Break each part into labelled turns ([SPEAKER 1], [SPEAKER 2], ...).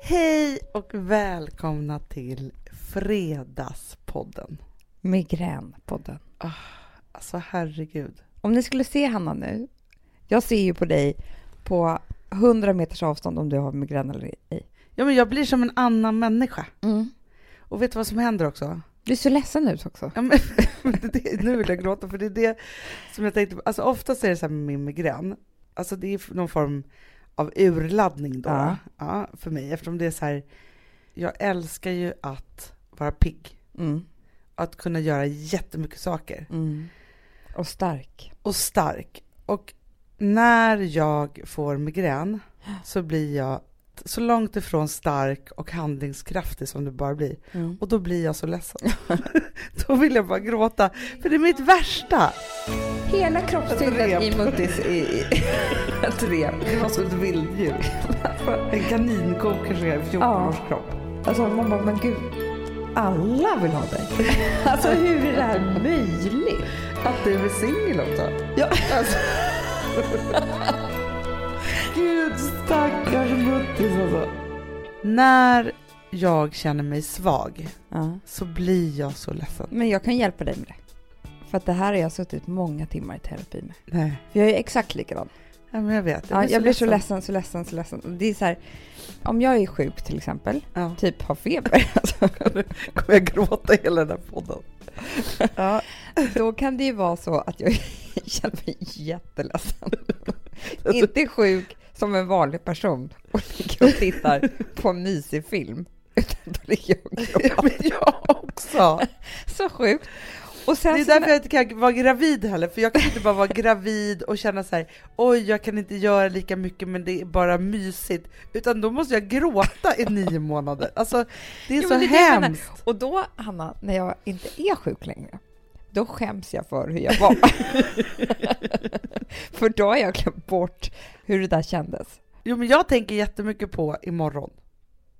[SPEAKER 1] Hej och välkomna till Fredagspodden.
[SPEAKER 2] Migränpodden.
[SPEAKER 1] Alltså herregud.
[SPEAKER 2] Om ni skulle se Hanna nu, jag ser ju på dig på 100 meters avstånd om du har migrän eller ej.
[SPEAKER 1] Ja men jag blir som en annan människa.
[SPEAKER 2] Mm.
[SPEAKER 1] Och vet du vad som händer också?
[SPEAKER 2] Du ser ledsen ut också.
[SPEAKER 1] Ja, men, det, nu vill jag gråta för det är det som jag tänkte på. Alltså oftast är det så här med min migrän, alltså det är någon form av urladdning då.
[SPEAKER 2] Ja.
[SPEAKER 1] Ja. för mig eftersom det är så här, jag älskar ju att vara pigg.
[SPEAKER 2] Mm.
[SPEAKER 1] Att kunna göra jättemycket saker.
[SPEAKER 2] Och stark.
[SPEAKER 1] och stark. Och när jag får migrän så blir jag så långt ifrån stark och handlingskraftig som det bara blir.
[SPEAKER 2] Mm.
[SPEAKER 1] Och då blir jag så ledsen. då vill jag bara gråta, för det är mitt värsta.
[SPEAKER 2] Hela kroppstyngden
[SPEAKER 1] Rep.
[SPEAKER 2] i Muttis i, i ett rep.
[SPEAKER 1] Det var som ett vilddjur. En kaninko kanske är 14
[SPEAKER 2] Ja.
[SPEAKER 1] års kropp.
[SPEAKER 2] Alltså man bara, men gud. Alla vill ha dig. Alltså hur är det här möjligt?
[SPEAKER 1] Att du är singel också.
[SPEAKER 2] Ja.
[SPEAKER 1] Alltså. Gud stackars Muttis alltså. När jag känner mig svag
[SPEAKER 2] Ja.
[SPEAKER 1] så blir jag så ledsen.
[SPEAKER 2] Men jag kan hjälpa dig med det. För att det här har jag suttit många timmar i terapi med.
[SPEAKER 1] Nej,
[SPEAKER 2] För jag är ju exakt likadan.
[SPEAKER 1] ja, men jag vet.
[SPEAKER 2] Ja, jag blir så ledsen, så ledsen, så ledsen. Och Det är så här, om jag är sjuk till exempel,
[SPEAKER 1] Ja.
[SPEAKER 2] typ har feber, alltså,
[SPEAKER 1] Kommer jag gråta i hela den här podden? ja.
[SPEAKER 2] då kan det ju vara så att jag känner mig jätteledsen. Inte sjuk som en vanlig person och ligger och tittar på en mysig film, utan då ligger jag och
[SPEAKER 1] Ja, men
[SPEAKER 2] gråter.
[SPEAKER 1] jag också.
[SPEAKER 2] Så sjukt. Och
[SPEAKER 1] Det
[SPEAKER 2] sen
[SPEAKER 1] är
[SPEAKER 2] så
[SPEAKER 1] därför jag inte kan vara gravid heller, för jag kan inte bara vara gravid och känna så här, oj jag kan inte göra lika mycket men det är bara mysigt. Utan då måste jag gråta i nio månader. Alltså det är så
[SPEAKER 2] Jo, men det är det jag menar.
[SPEAKER 1] hemskt.
[SPEAKER 2] Och då, Hanna, när jag inte är sjuk längre, då skäms jag för hur jag var. för då har jag glömt bort hur det där kändes.
[SPEAKER 1] Jo men jag tänker jättemycket på imorgon.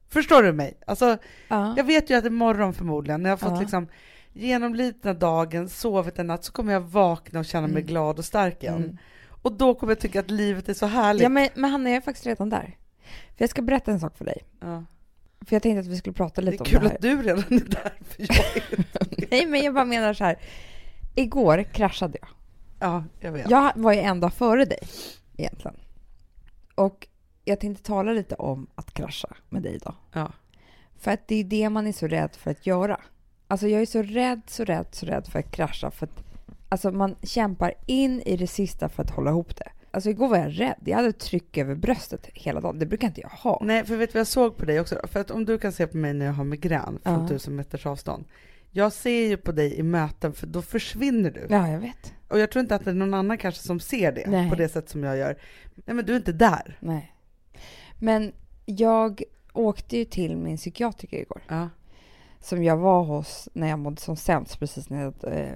[SPEAKER 1] Förstår du mig? Alltså
[SPEAKER 2] Ja.
[SPEAKER 1] Jag vet ju att imorgon förmodligen, när jag har fått
[SPEAKER 2] Ja.
[SPEAKER 1] liksom genomlidna dagen, sovit en natt, så kommer jag vakna och känna mig
[SPEAKER 2] Mm.
[SPEAKER 1] glad och stark igen.
[SPEAKER 2] Mm.
[SPEAKER 1] Och då kommer jag tycka att livet är så härligt.
[SPEAKER 2] Ja, men, men Hanna, jag är faktiskt redan där. För jag ska berätta en sak för dig.
[SPEAKER 1] Ja.
[SPEAKER 2] För jag tänkte att vi skulle prata
[SPEAKER 1] Det är
[SPEAKER 2] lite om
[SPEAKER 1] kul
[SPEAKER 2] det här.
[SPEAKER 1] att du redan är där, för jag är...
[SPEAKER 2] Nej, men jag bara menar så här. Igår kraschade jag.
[SPEAKER 1] Ja, jag vet.
[SPEAKER 2] Jag var ju en dag före dig, egentligen. Och jag tänkte tala lite om att krascha med dig idag.
[SPEAKER 1] Ja.
[SPEAKER 2] För att det är det man är så rädd för att göra. Alltså jag är så rädd, så rädd, så rädd för att krascha. För att, alltså man kämpar in i det sista för att hålla ihop det. Alltså igår var jag rädd. Jag hade ett tryck över bröstet hela dagen. Det brukar inte jag ha.
[SPEAKER 1] Nej, för vet du vad jag såg på dig också? För att om du kan se på mig när jag har migrän från
[SPEAKER 2] Ja.
[SPEAKER 1] tusen meters avstånd. Jag ser ju på dig i möten, för då försvinner du.
[SPEAKER 2] Ja, jag vet.
[SPEAKER 1] Och jag tror inte att det är någon annan kanske som ser det
[SPEAKER 2] Nej.
[SPEAKER 1] på det sätt som jag gör. Nej, men du är inte där.
[SPEAKER 2] Nej. Men jag åkte ju till min psykiatriker igår.
[SPEAKER 1] Ja.
[SPEAKER 2] Som jag var hos när jag mådde som sämst precis när jag hade, eh,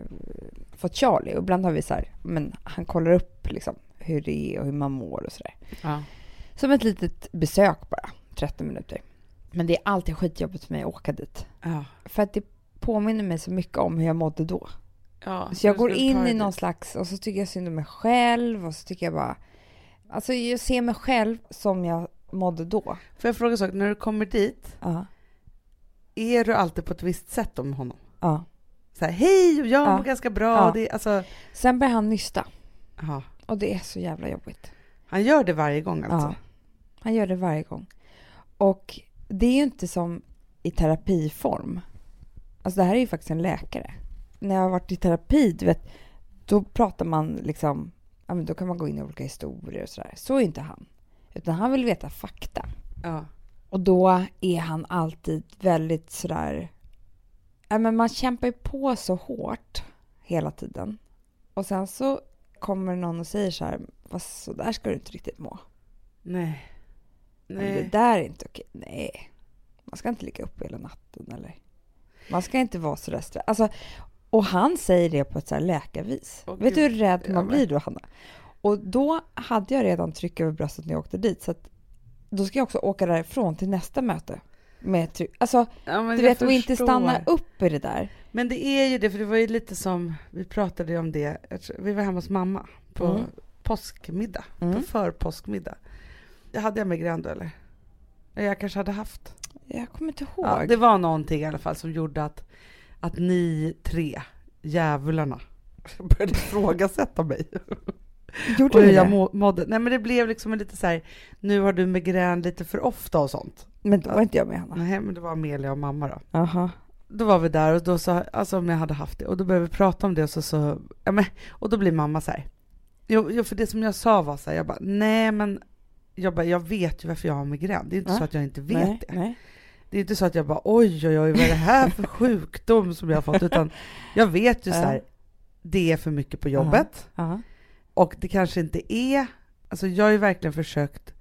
[SPEAKER 2] fått Charlie. Och ibland har vi så här, men han kollar upp liksom hur det är och hur man mår och sådär.
[SPEAKER 1] ja.
[SPEAKER 2] Som ett litet besök bara, 30 minuter. Men det är alltid skitjobbigt för mig att åka dit.
[SPEAKER 1] Ja.
[SPEAKER 2] För att det påminner mig så mycket om hur jag mådde då.
[SPEAKER 1] ja.
[SPEAKER 2] Så jag
[SPEAKER 1] Du
[SPEAKER 2] går
[SPEAKER 1] skulle ta
[SPEAKER 2] in
[SPEAKER 1] dig
[SPEAKER 2] i
[SPEAKER 1] dit.
[SPEAKER 2] någon slags, och så tycker jag synd om mig själv och så tycker jag bara... Alltså jag ser mig själv som jag mådde då.
[SPEAKER 1] Får jag fråga en sak? När du kommer dit,
[SPEAKER 2] Ja.
[SPEAKER 1] är du alltid på ett visst sätt om honom?
[SPEAKER 2] ja.
[SPEAKER 1] Så här, hej, och jag
[SPEAKER 2] Ja.
[SPEAKER 1] mår ganska bra.
[SPEAKER 2] Ja.
[SPEAKER 1] och Det, är- alltså,
[SPEAKER 2] Sen börjar han nysta
[SPEAKER 1] ja.
[SPEAKER 2] och det är så jävla jobbigt.
[SPEAKER 1] Han gör det varje gång
[SPEAKER 2] Ja.
[SPEAKER 1] alltså?
[SPEAKER 2] Han gör det varje gång. Och det är ju inte som i terapiform. Alltså det här är ju faktiskt en läkare. När jag har varit i terapi, du vet, då pratar man liksom, ja men då kan man gå in i olika historier och sådär. Så är ju inte han. Utan han vill veta fakta.
[SPEAKER 1] Ja.
[SPEAKER 2] Och då är han alltid väldigt sådär... Ja, men man kämpar ju på så hårt hela tiden. Och sen så kommer någon och säger så här, "Fast så där ska du inte riktigt må.
[SPEAKER 1] Nej.
[SPEAKER 2] Men Det
[SPEAKER 1] Nej.
[SPEAKER 2] där är inte okej. Nej. Man ska inte ligga uppe hela natten eller... Man ska inte vara sådär stressad. Alltså, och han säger det på ett så här läkarvis.
[SPEAKER 1] Åh,
[SPEAKER 2] Vet du hur rädd
[SPEAKER 1] Ja,
[SPEAKER 2] man
[SPEAKER 1] men-
[SPEAKER 2] blir då, Hanna? Och då hade jag redan tryck över bröstet när jag åkte dit. Så att då ska jag också åka därifrån till nästa möte. Med tryck. Alltså,
[SPEAKER 1] Ja, men
[SPEAKER 2] du
[SPEAKER 1] jag
[SPEAKER 2] vet, och inte
[SPEAKER 1] förstår.
[SPEAKER 2] stanna upp i det där.
[SPEAKER 1] Men det är ju det, för det var ju lite som, vi pratade ju om det, jag tror- vi var hemma hos mamma på
[SPEAKER 2] Mm.
[SPEAKER 1] påskmiddag,
[SPEAKER 2] Mm.
[SPEAKER 1] på förpåskmiddag. Hade jag migrän då eller? jag kanske hade haft.
[SPEAKER 2] Jag kommer inte ihåg.
[SPEAKER 1] Ja, det var någonting i alla fall som gjorde att, att ni tre djävularna började ifrågasätta mig.
[SPEAKER 2] Gjorde
[SPEAKER 1] Och hur
[SPEAKER 2] du
[SPEAKER 1] jag
[SPEAKER 2] det?
[SPEAKER 1] må- mådde. Nej men det blev liksom lite så här, nu har du migrän lite för ofta och sånt.
[SPEAKER 2] Men då var inte jag med Hanna.
[SPEAKER 1] Nej men det var Amelia och mamma då.
[SPEAKER 2] Aha.
[SPEAKER 1] Då var vi där och då sa, alltså om jag hade haft det, och då började vi prata om det och så, så ja men, och då blir mamma så här. Jo, jo för det som jag sa var så här, jag bara, nej men, jag bara, jag vet ju varför jag har migrän. Det är inte
[SPEAKER 2] Ja.
[SPEAKER 1] så att jag inte vet
[SPEAKER 2] nej,
[SPEAKER 1] det.
[SPEAKER 2] Nej.
[SPEAKER 1] Det är inte så att jag bara, oj oj oj vad är det här för sjukdom som jag har fått, utan jag vet ju så här, det är för mycket på jobbet.
[SPEAKER 2] Aha.
[SPEAKER 1] Och det kanske inte är, alltså jag har ju verkligen försökt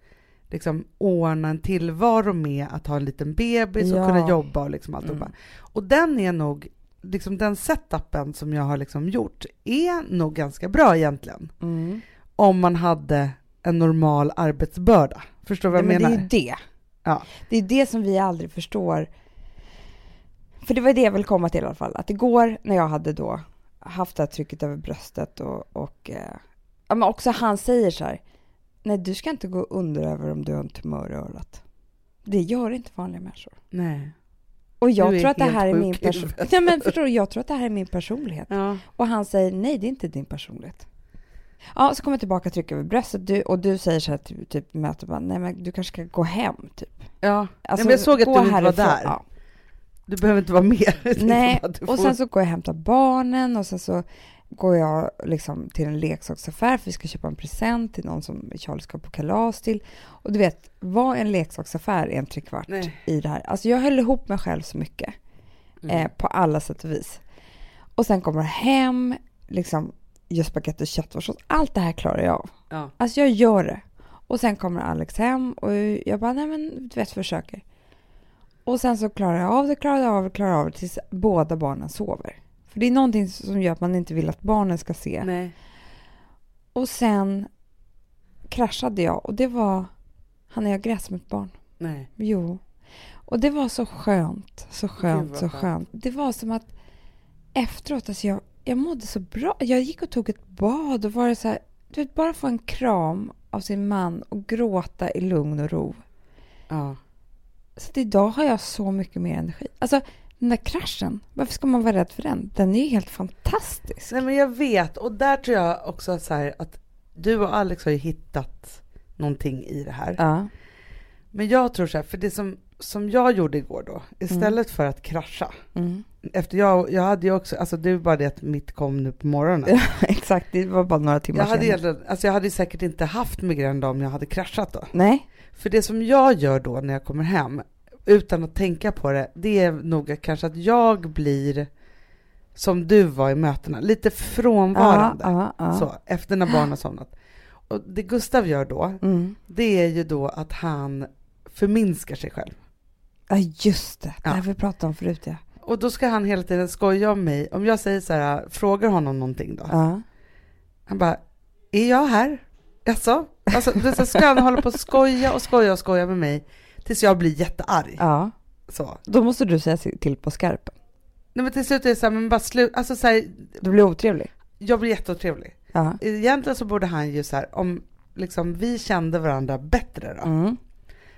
[SPEAKER 1] liksom ordna en tillvaro med att ha en liten bebis och
[SPEAKER 2] Ja.
[SPEAKER 1] kunna jobba och liksom alltihopa.
[SPEAKER 2] Mm.
[SPEAKER 1] Och den är nog, liksom den setupen som jag har liksom gjort är nog ganska bra egentligen.
[SPEAKER 2] Mm.
[SPEAKER 1] Om man hade en normal arbetsbörda. Förstår du vad jag
[SPEAKER 2] Nej, men
[SPEAKER 1] menar?
[SPEAKER 2] det är ju det.
[SPEAKER 1] Ja.
[SPEAKER 2] Det är det som vi aldrig förstår. För det var det jag ville komma till i alla fall. Att igår när jag hade då haft det här trycket över bröstet och, och eh, ja, men också han säger så här. Nej, du ska inte gå under över om du har en tumör i örat. Det gör inte vanliga människor.
[SPEAKER 1] Nej.
[SPEAKER 2] Och jag
[SPEAKER 1] Du är
[SPEAKER 2] tror att det
[SPEAKER 1] helt
[SPEAKER 2] här är
[SPEAKER 1] sjuk
[SPEAKER 2] min
[SPEAKER 1] i
[SPEAKER 2] personlighet.
[SPEAKER 1] huvudet.
[SPEAKER 2] Nej men förstår du, jag tror att det här är min personlighet.
[SPEAKER 1] Ja.
[SPEAKER 2] Och han säger nej, det är inte din personlighet. Ja, så kommer jag tillbaka och trycker över bröstet du, och du säger så här typ, typ mötet bara, nej men du kanske ska gå hem typ.
[SPEAKER 1] ja. men jag såg att
[SPEAKER 2] gå
[SPEAKER 1] du inte var
[SPEAKER 2] härifrån.
[SPEAKER 1] där.
[SPEAKER 2] Ja.
[SPEAKER 1] Du behöver inte vara med. Det är
[SPEAKER 2] Nej,
[SPEAKER 1] som att du
[SPEAKER 2] och
[SPEAKER 1] får-
[SPEAKER 2] sen så går jag och hämtar barnen och sen så går jag liksom till en leksaksaffär för vi ska köpa en present till någon som Charlie ska på kalas till. Och du vet, vad en leksaksaffär är en trekvart
[SPEAKER 1] Nej.
[SPEAKER 2] i det här. Alltså jag höll ihop mig själv så mycket.
[SPEAKER 1] Mm.
[SPEAKER 2] Eh, på alla sätt och vis. Och sen kommer jag hem, liksom gör spagetti och köttfärssås. Allt det här klarar jag av.
[SPEAKER 1] Ja.
[SPEAKER 2] Alltså jag gör det. Och sen kommer Alex hem och jag bara, nej men du vet, försöker. Och sen så klarar jag av det, klarar jag av det, klarar jag av det tills båda barnen sover. För det är någonting som gör att man inte vill att barnen ska se.
[SPEAKER 1] Nej.
[SPEAKER 2] Och sen kraschade jag och det var, han jag grät som ett barn.
[SPEAKER 1] Nej.
[SPEAKER 2] Jo. Och det var så skönt, så
[SPEAKER 1] Gud,
[SPEAKER 2] skönt,
[SPEAKER 1] vad
[SPEAKER 2] så
[SPEAKER 1] skönt.
[SPEAKER 2] skönt. Det var som att efteråt, alltså jag, jag mådde så bra. Jag gick och tog ett bad och var det så här, du vet, bara få en kram av sin man och gråta i lugn och ro.
[SPEAKER 1] Ja.
[SPEAKER 2] Så att idag har jag så mycket mer energi. Alltså den där kraschen, varför ska man vara rädd för den? Den är ju helt fantastisk.
[SPEAKER 1] Nej men jag vet och där tror jag också att så här, att du och Alex har ju hittat någonting i det här.
[SPEAKER 2] Ja.
[SPEAKER 1] Men jag tror så här, för det som, som jag gjorde igår då, istället för att krascha,
[SPEAKER 2] Mm.
[SPEAKER 1] efter jag, jag hade ju också, alltså det var bara det att mitt kom nu på morgonen.
[SPEAKER 2] Exakt, det var bara några timmar
[SPEAKER 1] Jag hade,
[SPEAKER 2] senare.
[SPEAKER 1] egentligen- alltså jag hade ju säkert inte haft migrän då om jag hade kraschat då.
[SPEAKER 2] Nej,
[SPEAKER 1] För det som jag gör då när jag kommer hem, utan att tänka på det, det är nog kanske att jag blir som du var i mötena, lite
[SPEAKER 2] ja,
[SPEAKER 1] frånvarande.
[SPEAKER 2] ja, ja.
[SPEAKER 1] Så, efter när barnen har somnat. Och det Gustav gör då,
[SPEAKER 2] Mm.
[SPEAKER 1] det är ju då att han förminskar sig själv.
[SPEAKER 2] Ja, just det. Det
[SPEAKER 1] Ja.
[SPEAKER 2] här vi pratade om förut ja.
[SPEAKER 1] Och då ska han hela tiden skoja om mig. Om jag säger så här, frågar honom någonting då.
[SPEAKER 2] ja.
[SPEAKER 1] Han bara, är jag här? Jaså? Alltså, det är så ska han hålla på och skoja och skoja och skoja med mig tills jag blir jättearg.
[SPEAKER 2] ja.
[SPEAKER 1] Så.
[SPEAKER 2] Då måste du säga till på skarpen.
[SPEAKER 1] Nej men till slut är det så här, men bara slut, alltså så här,
[SPEAKER 2] Du blir otrevlig.
[SPEAKER 1] jag blir jätteotrevlig.
[SPEAKER 2] Ja.
[SPEAKER 1] Egentligen så borde han ju så här, om liksom vi kände varandra bättre då.
[SPEAKER 2] Mm.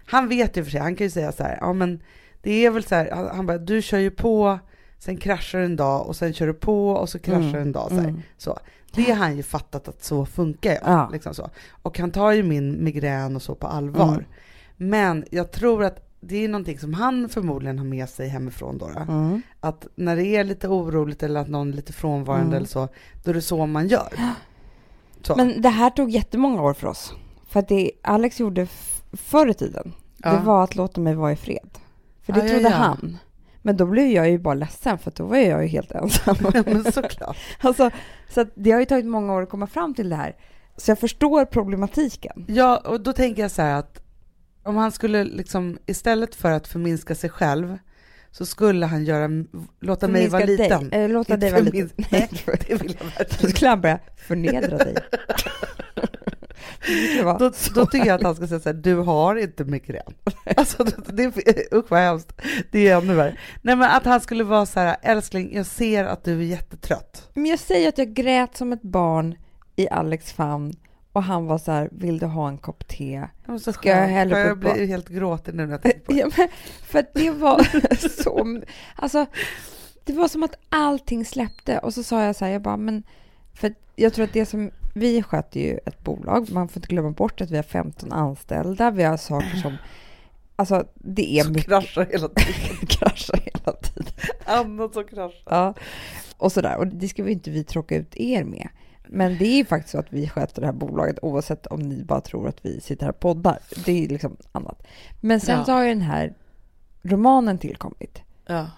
[SPEAKER 1] Han vet ju för sig, han kan ju säga så här, ja men det är väl så här, han, han bara, du kör ju på, sen kraschar du en dag och sen kör du på och så kraschar
[SPEAKER 2] Mm.
[SPEAKER 1] du en dag. Så, här.
[SPEAKER 2] Mm.
[SPEAKER 1] så Det har han ju fattat att så funkar jag.
[SPEAKER 2] Ja.
[SPEAKER 1] Liksom så. Och han tar ju min migrän och så på allvar.
[SPEAKER 2] Mm.
[SPEAKER 1] Men jag tror att det är någonting som han förmodligen har med sig hemifrån då. då.
[SPEAKER 2] Mm.
[SPEAKER 1] Att när det är lite oroligt eller att någon är lite frånvarande
[SPEAKER 2] Mm.
[SPEAKER 1] eller så, då är det så man gör. Så.
[SPEAKER 2] Men det här tog jättemånga år för oss. För att det Alex gjorde f- förr i tiden,
[SPEAKER 1] Ja.
[SPEAKER 2] det var att låta mig vara i fred. För det
[SPEAKER 1] Ja, ja,
[SPEAKER 2] trodde
[SPEAKER 1] ja.
[SPEAKER 2] han. Men då blev jag ju bara ledsen för att då var jag ju helt ensam.
[SPEAKER 1] Ja, men såklart.
[SPEAKER 2] alltså, så att det har ju tagit många år att komma fram till det här. Så jag förstår problematiken.
[SPEAKER 1] Ja, och då tänker jag så här att om han skulle liksom, istället för att förminska sig själv, så skulle han göra, låta mig
[SPEAKER 2] Förminska
[SPEAKER 1] vara liten.
[SPEAKER 2] Dig, eh, låta dig vara liten.
[SPEAKER 1] förmin-
[SPEAKER 2] Nej,
[SPEAKER 1] Nej, det vill jag
[SPEAKER 2] Då
[SPEAKER 1] verkligen
[SPEAKER 2] skulle han börja förnedra dig. Det skulle vara-
[SPEAKER 1] då, då tycker jag att han ska säga så här, du har inte migrän. Alltså, det, det, usch vad hemskt. Det är ännu värre. Nej men att han skulle vara så här, älskling, jag ser att du är jättetrött.
[SPEAKER 2] Men jag säger att jag grät som ett barn i Alex famn Och han var så här, vill du ha en kopp te?
[SPEAKER 1] Det var så
[SPEAKER 2] Ska jag
[SPEAKER 1] skönt.
[SPEAKER 2] hälla
[SPEAKER 1] jag
[SPEAKER 2] upp på-
[SPEAKER 1] blir helt gråtig nu när jag tänker på det.
[SPEAKER 2] Ja, men, för att det var så... Alltså, det var som att allting släppte. Och så sa jag så här, jag bara, men... För att jag tror att det som... Vi sköter ju ett bolag. Man får inte glömma bort att vi har 15 anställda. Vi har saker som... Alltså, det är
[SPEAKER 1] Som
[SPEAKER 2] mycket
[SPEAKER 1] kraschar hela tiden.
[SPEAKER 2] kraschar hela tiden.
[SPEAKER 1] Annat som kraschar.
[SPEAKER 2] Ja. Och sådär. Och det ska vi inte vi tråka ut er med. Men det är ju faktiskt så att vi sköter det här bolaget oavsett om ni bara tror att vi sitter här och poddar. Det är ju liksom annat. Men sen
[SPEAKER 1] Ja.
[SPEAKER 2] så har ju den här romanen tillkommit.
[SPEAKER 1] Ja.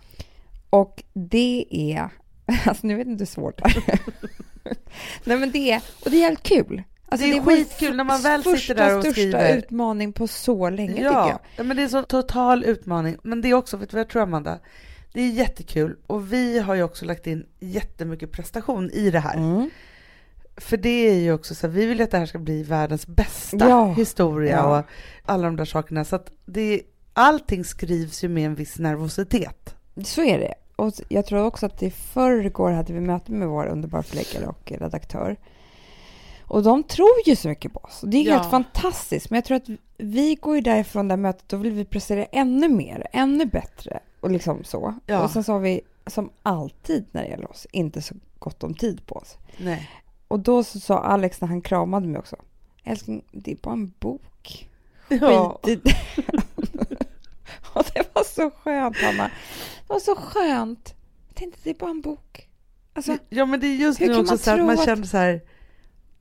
[SPEAKER 2] Och det är... Alltså nu vet jag inte hur svårt det är. Nej men det är... Och det är jävligt kul. Alltså,
[SPEAKER 1] Det är
[SPEAKER 2] min
[SPEAKER 1] skitkul när man väl
[SPEAKER 2] första,
[SPEAKER 1] sitter där och
[SPEAKER 2] största
[SPEAKER 1] skriver.
[SPEAKER 2] utmaning på så länge tycker
[SPEAKER 1] Ja,
[SPEAKER 2] jag.
[SPEAKER 1] ja, men det är så total utmaning. Men det är också, vet du vad jag tror Amanda? Det är jättekul och vi har ju också lagt in jättemycket prestation i det här.
[SPEAKER 2] Mm.
[SPEAKER 1] För det är ju också så här, vi vill ju att det här ska bli världens bästa
[SPEAKER 2] Ja.
[SPEAKER 1] historia
[SPEAKER 2] Ja.
[SPEAKER 1] och alla de där sakerna. Så att det, allting skrivs ju med en viss nervositet.
[SPEAKER 2] Så är det. Och jag tror också att i förrgår hade vi möte med vår underbara förläggare och redaktör. Och de tror ju så mycket på oss. Det är
[SPEAKER 1] Ja.
[SPEAKER 2] helt fantastiskt. Men jag tror att vi går ju därifrån det här mötet, då vill vi prestera ännu mer, ännu bättre. Och liksom så.
[SPEAKER 1] Ja.
[SPEAKER 2] Och sen så har vi, som alltid när det gäller oss, inte så gott om tid på oss.
[SPEAKER 1] Nej.
[SPEAKER 2] Och då så sa Alex när han kramade mig också, älskling, det är bara en bok.
[SPEAKER 1] Ja.
[SPEAKER 2] Skit i det. Och det var så skönt, Hanna. Det var så skönt. Jag tänkte, det är bara en bok. Alltså,
[SPEAKER 1] ja men det är just
[SPEAKER 2] Hur
[SPEAKER 1] nu
[SPEAKER 2] kan
[SPEAKER 1] också
[SPEAKER 2] man
[SPEAKER 1] så här att
[SPEAKER 2] tro
[SPEAKER 1] man
[SPEAKER 2] att-
[SPEAKER 1] känner så här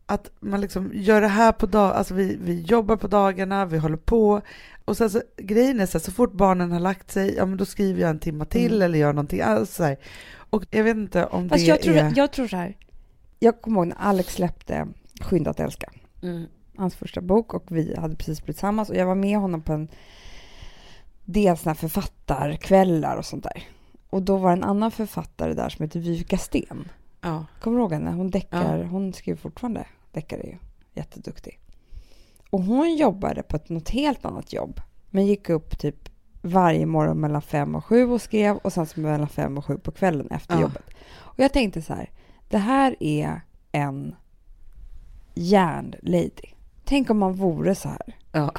[SPEAKER 1] att man liksom gör det här på dag, alltså vi, vi jobbar på dagarna, vi håller på och sen så grejen är så här, så fort barnen har lagt sig, ja men då skriver jag en timma till
[SPEAKER 2] Mm.
[SPEAKER 1] eller gör någonting alltså så här. Och jag vet inte om
[SPEAKER 2] fast
[SPEAKER 1] det
[SPEAKER 2] jag tror,
[SPEAKER 1] är...
[SPEAKER 2] jag tror så här. Jag kommer ihåg när Alex släppte Skynda att älska.
[SPEAKER 1] Mm.
[SPEAKER 2] hans första bok och vi hade precis blivit tillsammans och jag var med honom på en del såna här författarkvällar och sånt där. Och då var det en annan författare där som heter Viveka Sten.
[SPEAKER 1] Ja.
[SPEAKER 2] Kommer du ihåg henne? Hon deckar, hon skriver fortfarande deckare ju. Jätteduktig. Och hon jobbade på ett, något helt annat jobb. Men gick upp typ varje morgon mellan fem och sju och skrev och sen så mellan fem och sju på kvällen efter
[SPEAKER 1] Ja.
[SPEAKER 2] jobbet. Och jag tänkte så här, det här är en järnlady. Tänk om man vore så här.
[SPEAKER 1] Ja.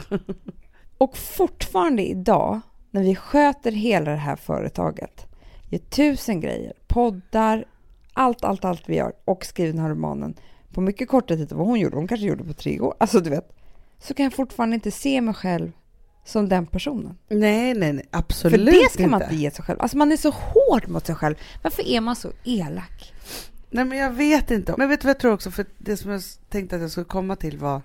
[SPEAKER 2] Och fortfarande idag, när vi sköter hela det här företaget, gör tusen grejer, poddar, allt, allt, allt vi gör och skriver den här romanen på mycket kortare tid än vad hon gjorde. Hon kanske gjorde det på tre år. Alltså du vet, så kan jag fortfarande inte se mig själv som den personen.
[SPEAKER 1] Nej, nej, nej, absolut
[SPEAKER 2] För det ska man
[SPEAKER 1] inte.
[SPEAKER 2] inte ge sig själv. Alltså man är så hård mot sig själv. Varför är man så elak?
[SPEAKER 1] Nej men jag vet inte. Men vet du vad jag tror också? För det som jag s- tänkte att jag skulle komma till var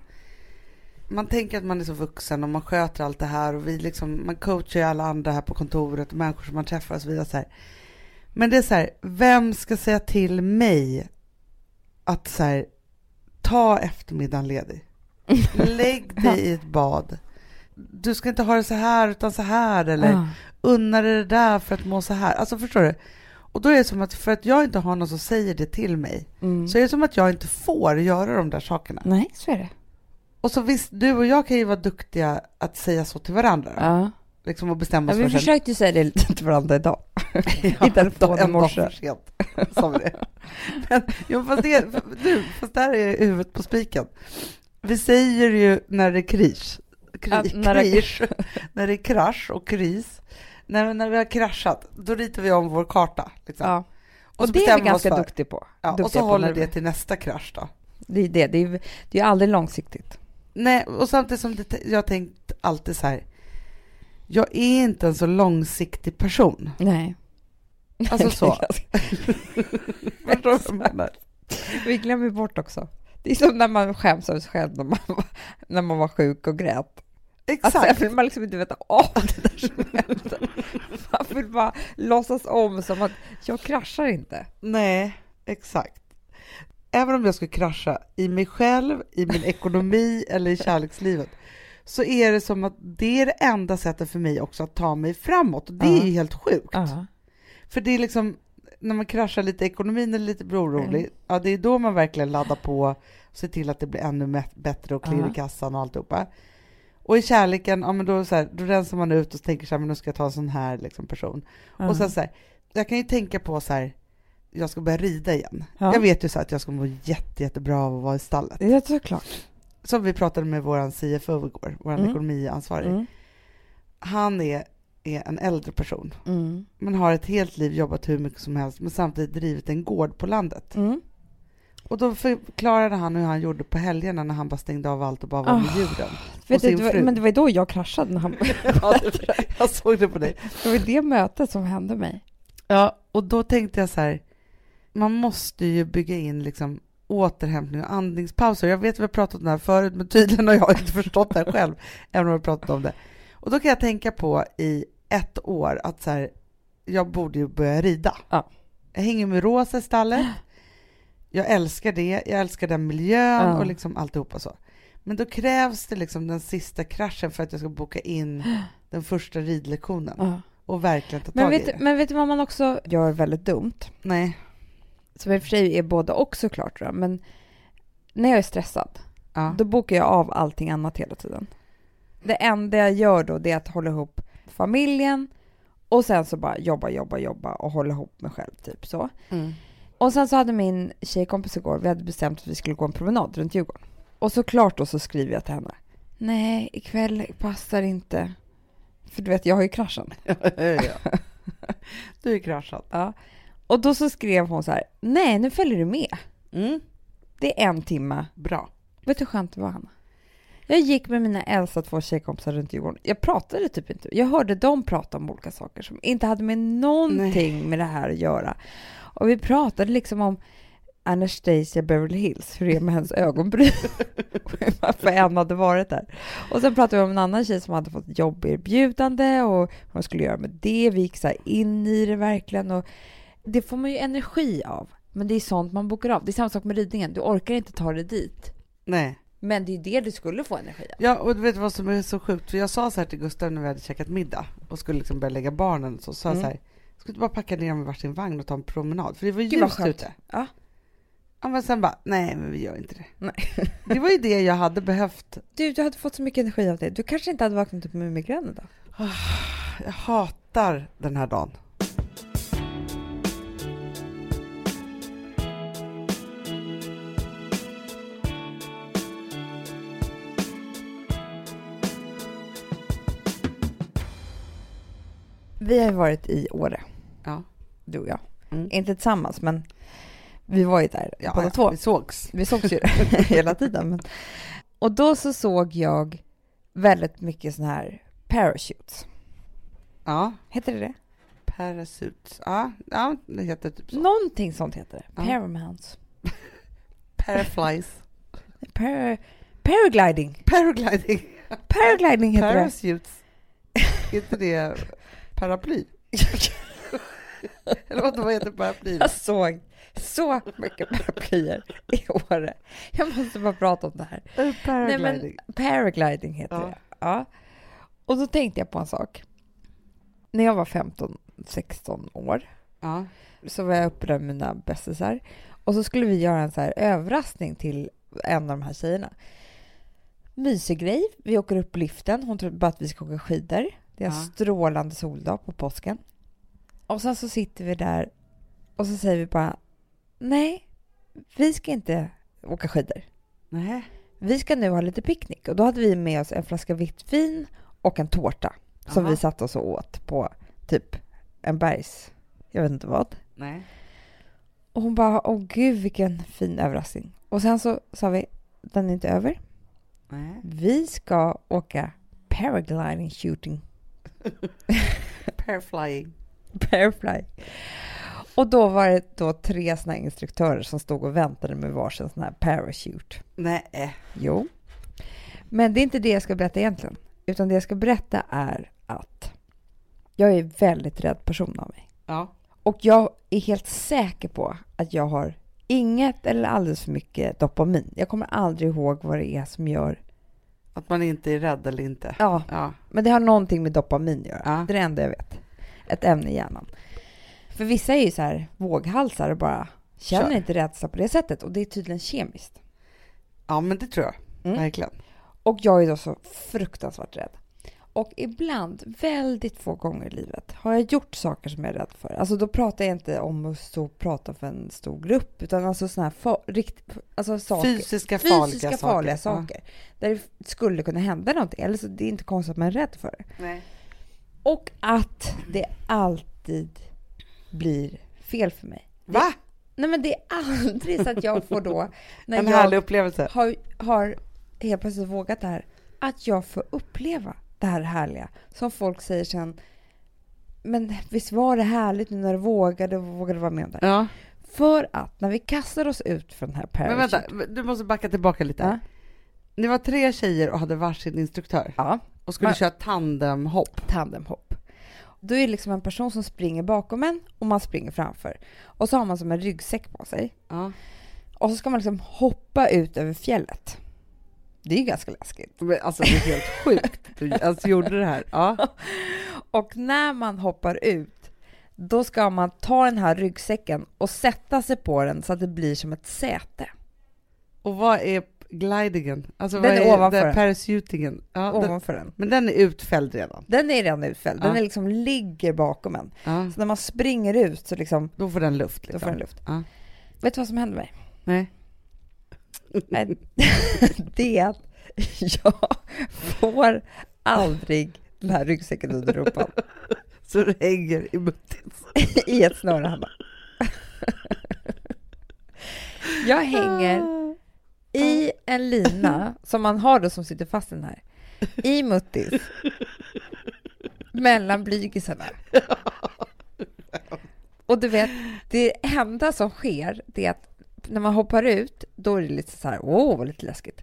[SPEAKER 1] man tänker att man är så vuxen och man sköter allt det här och vi liksom, man coachar ju alla andra här på kontoret och människor som man träffar och så vidare. Så här. Men det är så här, vem ska säga till mig att så här, ta eftermiddagen ledig? Lägg dig i ett bad. Du ska inte ha det så här utan så här eller
[SPEAKER 2] Ah.
[SPEAKER 1] unna dig det där för att må så här. Alltså förstår du? Och då är det som att för att jag inte har någon som säger det till mig
[SPEAKER 2] Mm.
[SPEAKER 1] så är det som att jag inte får göra de där sakerna.
[SPEAKER 2] Nej, så är det.
[SPEAKER 1] Och så visst, du och jag kan ju vara duktiga att säga så till varandra. då.
[SPEAKER 2] Ja.
[SPEAKER 1] Liksom och bestämma
[SPEAKER 2] Ja,
[SPEAKER 1] oss
[SPEAKER 2] vi
[SPEAKER 1] för sen-
[SPEAKER 2] försökte ju säga det lite till varandra idag. I
[SPEAKER 1] Ja,
[SPEAKER 2] telefon i
[SPEAKER 1] en dag
[SPEAKER 2] morse.
[SPEAKER 1] för sent. Sa vi det. Men, jo, fast, det, du, fast där är huvudet på spiken. Vi säger ju när det är kris, kri,
[SPEAKER 2] Ja, när
[SPEAKER 1] när,
[SPEAKER 2] det-
[SPEAKER 1] kris när det är krasch och kris. När, när vi har kraschat, då ritar vi om vår karta. Liksom.
[SPEAKER 2] Ja.
[SPEAKER 1] Och
[SPEAKER 2] Och,
[SPEAKER 1] så
[SPEAKER 2] det är
[SPEAKER 1] bestämmer vi
[SPEAKER 2] vi
[SPEAKER 1] oss
[SPEAKER 2] ganska
[SPEAKER 1] för-
[SPEAKER 2] duktiga på.
[SPEAKER 1] Ja, och så
[SPEAKER 2] Duktiga på
[SPEAKER 1] håller
[SPEAKER 2] när-
[SPEAKER 1] det till nästa krasch då.
[SPEAKER 2] Det är det. Det är, det är aldrig långsiktigt.
[SPEAKER 1] Nej, och samtidigt som det, jag har tänkt alltid så här. Jag är inte en så långsiktig person.
[SPEAKER 2] Nej.
[SPEAKER 1] Alltså så. Förstår du vad jag menar?
[SPEAKER 2] Alltså, Vi glömmer bort också. Det är som när man skäms över sig själv när man, var- när man var sjuk och grät.
[SPEAKER 1] Exakt.
[SPEAKER 2] Alltså, jag vill man liksom inte veta av det där som händer. Man vill bara låtsas om som att jag kraschar inte.
[SPEAKER 1] Nej, exakt. Även om jag skulle krascha i mig själv, i min ekonomi eller i kärlekslivet så är det som att det är det enda sättet för mig också att ta mig framåt. Och det är
[SPEAKER 2] Ja.
[SPEAKER 1] ju helt sjukt. För det är liksom, när man kraschar lite i ekonomin eller lite blir orolig,
[SPEAKER 2] Mm.
[SPEAKER 1] ja det är då man verkligen laddar på och ser till att det blir ännu mä- bättre och klirr
[SPEAKER 2] Ja.
[SPEAKER 1] i kassan och alltihopa. Och i kärleken, ja men då, är det så här, då rensar man ut och tänker så här, men nu ska jag ta en sån här liksom, person. Och sen så här, jag kan ju tänka på så här, jag ska börja rida igen.
[SPEAKER 2] Ja.
[SPEAKER 1] Jag vet ju så här, att jag ska må jätte, jättebra av att vara i stallet.
[SPEAKER 2] Ja, såklart.
[SPEAKER 1] som vi pratade med vår CFO igår, vår
[SPEAKER 2] Mm.
[SPEAKER 1] ekonomiansvarig.
[SPEAKER 2] Mm.
[SPEAKER 1] Han är, är en äldre person,
[SPEAKER 2] Mm.
[SPEAKER 1] men har ett helt liv jobbat hur mycket som helst, men samtidigt drivit en gård på landet.
[SPEAKER 2] Mm.
[SPEAKER 1] Och då förklarade han hur han gjorde på helgerna när han bara stängde av allt och bara var med
[SPEAKER 2] Ah.
[SPEAKER 1] djuren.
[SPEAKER 2] Vet du,
[SPEAKER 1] sin
[SPEAKER 2] det var,
[SPEAKER 1] fru.
[SPEAKER 2] men det var ju då jag kraschade. När han,
[SPEAKER 1] Ja, det- jag såg det på dig.
[SPEAKER 2] det var ju det mötet som hände mig.
[SPEAKER 1] Ja, och då tänkte jag så här, man måste ju bygga in liksom återhämtning och andningspauser. Jag vet att vi har pratat om det här förut, men tydligen har jag inte förstått det här själv, även om vi har pratat om det. Och då kan jag tänka på i ett år att så här, jag borde ju börja rida.
[SPEAKER 2] Ja.
[SPEAKER 1] Jag hänger med Rosa i stallet. Jag älskar det, jag älskar den miljön
[SPEAKER 2] Ja.
[SPEAKER 1] och liksom alltihopa så. Men då krävs det liksom den sista kraschen för att jag ska boka in den första ridlektionen
[SPEAKER 2] Ja.
[SPEAKER 1] och verkligen ta
[SPEAKER 2] Men,
[SPEAKER 1] tag i
[SPEAKER 2] vet,
[SPEAKER 1] det.
[SPEAKER 2] du- men vet du vad man också gör väldigt dumt?
[SPEAKER 1] Nej.
[SPEAKER 2] Som i och för sig är både och såklart. Då, men när jag är stressad,
[SPEAKER 1] Ja.
[SPEAKER 2] då bokar jag av allting annat hela tiden. Det enda jag gör då det är att hålla ihop familjen och sen så bara jobba, jobba, jobba och hålla ihop mig själv typ så.
[SPEAKER 1] Mm.
[SPEAKER 2] Och sen så hade min tjejkompis igår, vi hade bestämt att vi skulle gå en promenad runt Djurgården. Och såklart då så skriver jag till henne. Nej, ikväll passar inte. För du vet, jag har ju kraschen.
[SPEAKER 1] du är kraschad.
[SPEAKER 2] Ja. Och då så skrev hon så här. Nej, nu följer du med.
[SPEAKER 1] Mm.
[SPEAKER 2] Det är en timme.
[SPEAKER 1] Bra.
[SPEAKER 2] Vet du hur skönt det var, Hanna? Jag gick med mina äldsta två tjejkompisar runt Djurgården. Jag pratade typ inte. Jag hörde dem prata om olika saker som inte hade med någonting med det här att göra. Och vi pratade liksom om Anastasia Beverly Hills, hur det är med hennes ögonbryn. Varför en hade varit där. Och sen pratade vi om en annan tjej som hade fått jobberbjudande och vad hon skulle göra med det. Vi gick så här in i det verkligen. Och det får man ju energi av. Men det är sånt man bokar av. Det är samma sak med ridningen. Du orkar inte ta dig dit.
[SPEAKER 1] Nej.
[SPEAKER 2] Men det är ju det du skulle få energi av.
[SPEAKER 1] Ja, och du vet vad som är så sjukt? För jag sa så här till Gustav när vi hade käkat middag och skulle liksom börja lägga barnen så sa jag
[SPEAKER 2] Mm.
[SPEAKER 1] så här, ska du inte bara packa ner dem i varsin vagn och ta en promenad? För det var
[SPEAKER 2] Gud, vad
[SPEAKER 1] ljust
[SPEAKER 2] skönt.
[SPEAKER 1] ute.
[SPEAKER 2] Ja.
[SPEAKER 1] Ja, men sen bara, nej men vi gör inte det.
[SPEAKER 2] Nej.
[SPEAKER 1] det var ju det jag hade behövt.
[SPEAKER 2] Du, du hade fått så mycket energi av det. Du kanske inte hade vaknat upp med migrän idag.
[SPEAKER 1] Jag hatar den här dagen.
[SPEAKER 2] Vi har ju varit i Åre,
[SPEAKER 1] Ja.
[SPEAKER 2] du och jag.
[SPEAKER 1] Mm.
[SPEAKER 2] Inte tillsammans, men vi var ju där
[SPEAKER 1] Ja,
[SPEAKER 2] båda
[SPEAKER 1] ja,
[SPEAKER 2] två.
[SPEAKER 1] Vi sågs.
[SPEAKER 2] Vi sågs ju hela tiden. Men... Och då så såg jag väldigt mycket sådana här parachutes.
[SPEAKER 1] Ja.
[SPEAKER 2] Heter det det?
[SPEAKER 1] Parasuits. Ja, ja, det heter typ så.
[SPEAKER 2] Någonting sånt heter det.
[SPEAKER 1] Ja.
[SPEAKER 2] Paramount.
[SPEAKER 1] Paraflies.
[SPEAKER 2] Par... Paragliding.
[SPEAKER 1] Paragliding.
[SPEAKER 2] Paragliding heter det.
[SPEAKER 1] Parasuits. inte det paraply? Eller vad, vad heter paraply?
[SPEAKER 2] Jag såg så mycket paraplyer i Åre. Jag måste bara prata om det här.
[SPEAKER 1] Eh, Paragliding.
[SPEAKER 2] Nej, men paragliding heter
[SPEAKER 1] Ja.
[SPEAKER 2] det. Ja. Och då tänkte jag på en sak. När jag var 15-16 år
[SPEAKER 1] ja.
[SPEAKER 2] så var jag uppe där med mina bästisar och så skulle vi göra en så här överraskning till en av de här tjejerna. Mysig grej. Vi åker upp liften. Hon tror bara att vi ska åka skidor. Det är en
[SPEAKER 1] Ja.
[SPEAKER 2] strålande soldag på påsken. Och sen så sitter vi där och så säger vi bara nej, vi ska inte åka skidor.
[SPEAKER 1] Nej.
[SPEAKER 2] Vi ska nu ha lite picknick och då hade vi med oss en flaska vitt vin och en tårta som
[SPEAKER 1] Jaha.
[SPEAKER 2] vi satt oss och åt på typ en bergs... Jag vet inte vad.
[SPEAKER 1] Nej.
[SPEAKER 2] Och hon bara, åh gud vilken fin överraskning. Och sen så sa vi, den är inte över.
[SPEAKER 1] Nej.
[SPEAKER 2] Vi ska åka paragliding shooting,
[SPEAKER 1] Paraflying.
[SPEAKER 2] parafly. Och då var det då tre såna här instruktörer som stod och väntade med varsin sån här parachute.
[SPEAKER 1] Nej.
[SPEAKER 2] Jo. Men det är inte det jag ska berätta egentligen. Utan det jag ska berätta är att jag är en väldigt rädd person av mig.
[SPEAKER 1] Ja.
[SPEAKER 2] Och jag är helt säker på att jag har inget eller alldeles för mycket dopamin. Jag kommer aldrig ihåg vad det är som gör...
[SPEAKER 1] Att man inte är rädd eller inte.
[SPEAKER 2] Ja,
[SPEAKER 1] Ja.
[SPEAKER 2] men det har någonting med dopamin att göra.
[SPEAKER 1] Ja.
[SPEAKER 2] Det är det enda jag vet. Ett ämne i hjärnan. För vissa är ju så här våghalsar och bara känner
[SPEAKER 1] Kör.
[SPEAKER 2] inte rädsla på det sättet. Och det är tydligen kemiskt.
[SPEAKER 1] ja, men det tror jag.
[SPEAKER 2] Mm.
[SPEAKER 1] Verkligen.
[SPEAKER 2] Och jag är då så fruktansvärt rädd. Och ibland, väldigt få gånger i livet, har jag gjort saker som jag är rädd för. Alltså då pratar jag inte om att stå och prata för en stor grupp, utan alltså sådana här fa- rikt- alltså saker.
[SPEAKER 1] Fysiska,
[SPEAKER 2] Fysiska
[SPEAKER 1] farliga,
[SPEAKER 2] farliga
[SPEAKER 1] saker.
[SPEAKER 2] saker. Där det skulle kunna hända någonting. Eller så det är inte konstigt att man är rädd för det.
[SPEAKER 1] Ja. Nej.
[SPEAKER 2] Och att det alltid blir fel för mig.
[SPEAKER 1] Va?
[SPEAKER 2] Nej men det är aldrig så att jag får då, när
[SPEAKER 1] En
[SPEAKER 2] jag
[SPEAKER 1] härlig upplevelse.
[SPEAKER 2] har, har helt plötsligt vågat det här, att jag får uppleva det här härliga. Som folk säger sen, men visst var det härligt nu när du vågade och vågade vara med om det här?"
[SPEAKER 1] Ja.
[SPEAKER 2] För att när vi kastar oss ut från den här
[SPEAKER 1] Men
[SPEAKER 2] parachutet.
[SPEAKER 1] vänta, du måste backa tillbaka lite.
[SPEAKER 2] Ja.
[SPEAKER 1] Ni var tre tjejer och hade varsin instruktör
[SPEAKER 2] Ja,
[SPEAKER 1] och skulle
[SPEAKER 2] Men-
[SPEAKER 1] köra tandemhopp.
[SPEAKER 2] tandemhopp. Då är det liksom en person som springer bakom en och man springer framför. Och så har man som en ryggsäck på sig.
[SPEAKER 1] Ja.
[SPEAKER 2] Och så ska man liksom hoppa ut över fjället. Det är ju ganska läskigt.
[SPEAKER 1] Men alltså det är helt sjukt. Du alltså, gjorde det här. Ja.
[SPEAKER 2] Och när man hoppar ut, då ska man ta den här ryggsäcken och sätta sig på den så att det blir som ett säte.
[SPEAKER 1] Och vad är glidingen? Alltså,
[SPEAKER 2] Den
[SPEAKER 1] vad
[SPEAKER 2] är
[SPEAKER 1] är
[SPEAKER 2] ovanför.
[SPEAKER 1] den Parachutingen. Ja, den,
[SPEAKER 2] Ovanför den.
[SPEAKER 1] men den är utfälld redan.
[SPEAKER 2] Den är redan utfälld. Den
[SPEAKER 1] Ja.
[SPEAKER 2] är liksom ligger bakom en.
[SPEAKER 1] Ja.
[SPEAKER 2] Så när man springer ut så liksom,
[SPEAKER 1] Då får den luft.
[SPEAKER 2] då
[SPEAKER 1] Liksom.
[SPEAKER 2] får den luft.
[SPEAKER 1] Ja.
[SPEAKER 2] Vet du vad som hände mig?
[SPEAKER 1] Nej.
[SPEAKER 2] Nej, det är att jag får aldrig den här ryggsäcken under rumpan
[SPEAKER 1] Så det hänger i muttits.
[SPEAKER 2] i ett snöre, Hanna. Jag hänger I en lina som man har då som sitter fast i den här. I muttis. mellan blygisarna. Och du vet, det enda som sker det är att när man hoppar ut då är det lite så här, åh, vad lite läskigt.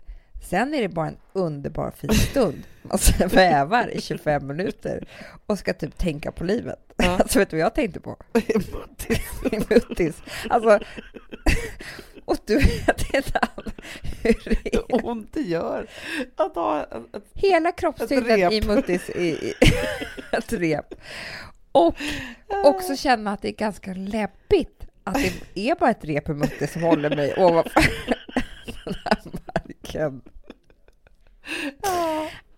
[SPEAKER 2] Sen är det bara en underbar fin stund. Man så vävar i 25 minuter och ska typ tänka på livet.
[SPEAKER 1] Ja.
[SPEAKER 2] Alltså vet du vad jag tänkte på?
[SPEAKER 1] I muttis.
[SPEAKER 2] min muttis. Alltså, och du vet inte all- hur det är.
[SPEAKER 1] Det ont det gör att ha ett, ett,
[SPEAKER 2] Hela
[SPEAKER 1] Ett
[SPEAKER 2] kroppstyngden
[SPEAKER 1] rep.
[SPEAKER 2] i muttis i, i ett rep. Och också känna att det är ganska läbbigt att det är bara ett rep i muttis som håller mig ovanför den här marken.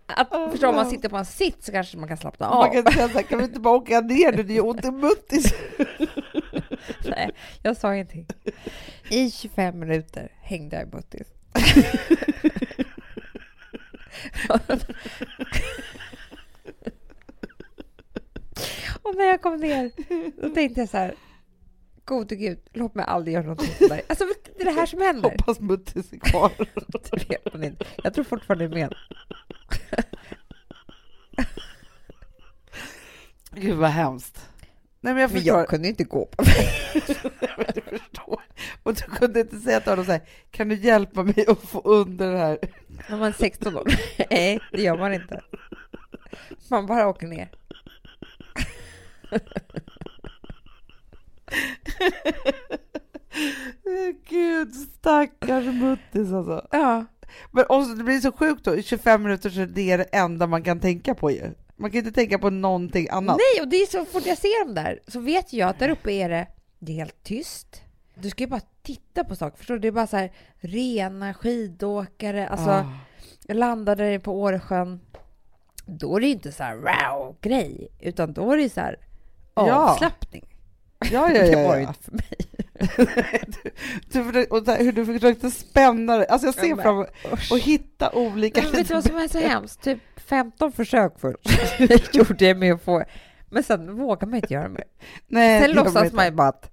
[SPEAKER 2] Att, förstår, om man sitter på en sitt så kanske man kan slappna av.
[SPEAKER 1] Man kan inte säga så här, kan vi inte bara åka ner nu? Det gör ont i muttis.
[SPEAKER 2] Nej, jag sa ingenting. I 25 minuter hängde jag i buttis. Och när jag kom ner då tänkte jag så här. Gode gud, låt mig aldrig göra någonting sådär. Alltså det är det här som händer.
[SPEAKER 1] Hoppas muttis är kvar.
[SPEAKER 2] Det vet man inte. Jag tror fortfarande det är med.
[SPEAKER 1] Gud vad hemskt. Nej men jag
[SPEAKER 2] Men
[SPEAKER 1] förstår.
[SPEAKER 2] jag kunde ju inte gå på
[SPEAKER 1] Jag förstår. Och du kunde inte säga till honom så här, kan du hjälpa mig att få under det här?
[SPEAKER 2] När man är 16 år. Nej, det gör man inte. Man bara åker ner.
[SPEAKER 1] Eh, Gud stackars muttis alltså.
[SPEAKER 2] Ja.
[SPEAKER 1] Men också, det blir så sjukt då, i 25 minuter så är det det enda man kan tänka på ju. Man kan inte tänka på någonting annat.
[SPEAKER 2] Nej, och det är så fort jag ser dem där så vet jag att där uppe är det, det är helt tyst. Du ska ju bara titta på saker, förstår du? Det är bara så här rena skidåkare. Alltså,
[SPEAKER 1] Ah.
[SPEAKER 2] jag landade på Åresjön. Då är det ju inte så här wow-grej, utan då är det ju så här
[SPEAKER 1] Ja.
[SPEAKER 2] avslappning.
[SPEAKER 1] Ja, ja,
[SPEAKER 2] Det var
[SPEAKER 1] ja.
[SPEAKER 2] ju
[SPEAKER 1] ja.
[SPEAKER 2] inte för mig.
[SPEAKER 1] Du, försökte- och så här, hur du försökte spänna dig. Alltså jag
[SPEAKER 2] Ja,
[SPEAKER 1] ser
[SPEAKER 2] men-
[SPEAKER 1] fram emot och hitta olika...
[SPEAKER 2] Men vet du vad som är så hemskt? Typ 15 försök först gjorde jag med att få, men sen vågar man inte göra mer.
[SPEAKER 1] Nej,
[SPEAKER 2] Sen
[SPEAKER 1] det gör man
[SPEAKER 2] låtsas
[SPEAKER 1] inte.
[SPEAKER 2] man ju bara att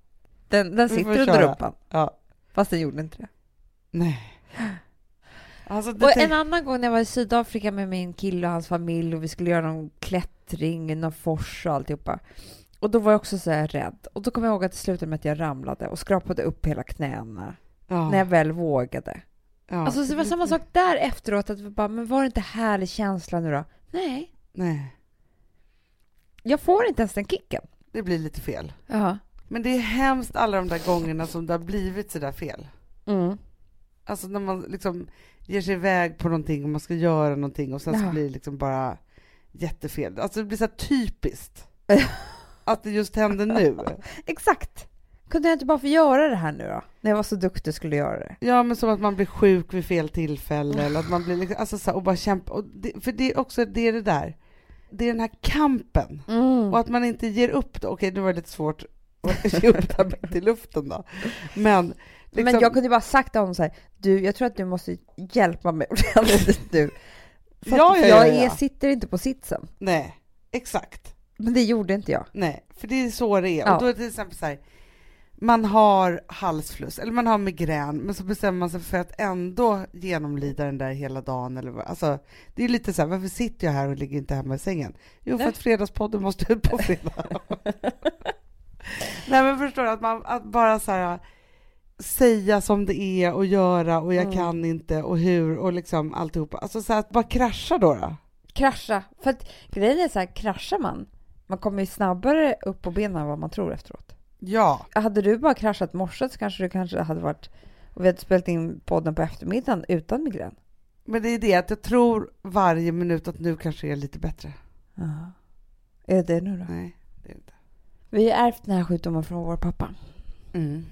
[SPEAKER 2] den,
[SPEAKER 1] Vi
[SPEAKER 2] den
[SPEAKER 1] får
[SPEAKER 2] sitter under
[SPEAKER 1] köra.
[SPEAKER 2] rumpan,
[SPEAKER 1] Ja.
[SPEAKER 2] fast den gjorde inte det.
[SPEAKER 1] Nej. Alltså, det
[SPEAKER 2] Och
[SPEAKER 1] tänk-
[SPEAKER 2] en annan gång när jag var i Sydafrika med min kille och hans familj och vi skulle göra någon klättring, någon fors och alltihopa. Och då var jag också så här rädd. Och då kom jag ihåg att det slutade med att jag ramlade och skrapade upp hela knäna
[SPEAKER 1] ja,
[SPEAKER 2] när jag väl vågade.
[SPEAKER 1] ja.
[SPEAKER 2] Alltså det var samma sak där efteråt, att vi bara, men var det inte härlig känsla nu då? Nej,
[SPEAKER 1] Nej,
[SPEAKER 2] jag får inte ens den kicken.
[SPEAKER 1] det blir lite fel.
[SPEAKER 2] Ja.
[SPEAKER 1] Men det är hemskt alla de där gångerna som det har blivit så där fel.
[SPEAKER 2] Mm.
[SPEAKER 1] Alltså när man liksom ger sig iväg på någonting och man ska göra någonting och sen så
[SPEAKER 2] Ja.
[SPEAKER 1] blir det liksom bara jättefel. Alltså det blir så här typiskt. Att det just hände nu.
[SPEAKER 2] Exakt. Kunde jag inte bara få göra det här nu då? När jag var så duktig och skulle göra det.
[SPEAKER 1] Ja men som att man blir sjuk vid fel tillfälle eller att man blir liksom, alltså så här, och bara kämpa. Och det, för det är också, det är det där. det är den här kampen
[SPEAKER 2] Mm.
[SPEAKER 1] och att man inte ger upp. Då. Okej, nu var det lite svårt att ge upp där mitt i luften då. Men, liksom,
[SPEAKER 2] Men jag kunde ju bara sagt till honom så här, du jag tror att du måste hjälpa mig ordentligt nu. För att
[SPEAKER 1] Ja, ja, ja,
[SPEAKER 2] jag
[SPEAKER 1] ja.
[SPEAKER 2] Är, sitter inte på sitsen.
[SPEAKER 1] nej, exakt.
[SPEAKER 2] Men det gjorde inte jag.
[SPEAKER 1] Nej, för det är så det är.
[SPEAKER 2] Ja.
[SPEAKER 1] Och då är det till exempel så här, man har halsfluss eller man har migrän, men så bestämmer man sig för att ändå genomlida den där hela dagen. Eller, vad- alltså, det är ju lite så här, varför sitter jag här och ligger inte hemma i sängen? Jo, för
[SPEAKER 2] Nej.
[SPEAKER 1] att Fredagspodden måste ut på fredag. Nej, men förstår du, att, man, att bara så här, säga som det är och göra och jag
[SPEAKER 2] Mm.
[SPEAKER 1] kan inte och hur och liksom alltihopa. Alltså så här, att bara krascha då. då.
[SPEAKER 2] Krascha. För att grejen är så här, kraschar man, man kommer ju snabbare upp på benen än vad man tror efteråt.
[SPEAKER 1] Ja,
[SPEAKER 2] Hade du bara kraschat morse så kanske du kanske hade varit, och vi hade spelat in podden på eftermiddagen utan migrän.
[SPEAKER 1] men det är det att jag tror varje minut att nu kanske är lite bättre.
[SPEAKER 2] Ja. Är det det nu då?
[SPEAKER 1] Nej, det är inte.
[SPEAKER 2] Vi har ärvt den här sjukdomen från vår pappa.
[SPEAKER 1] Mm.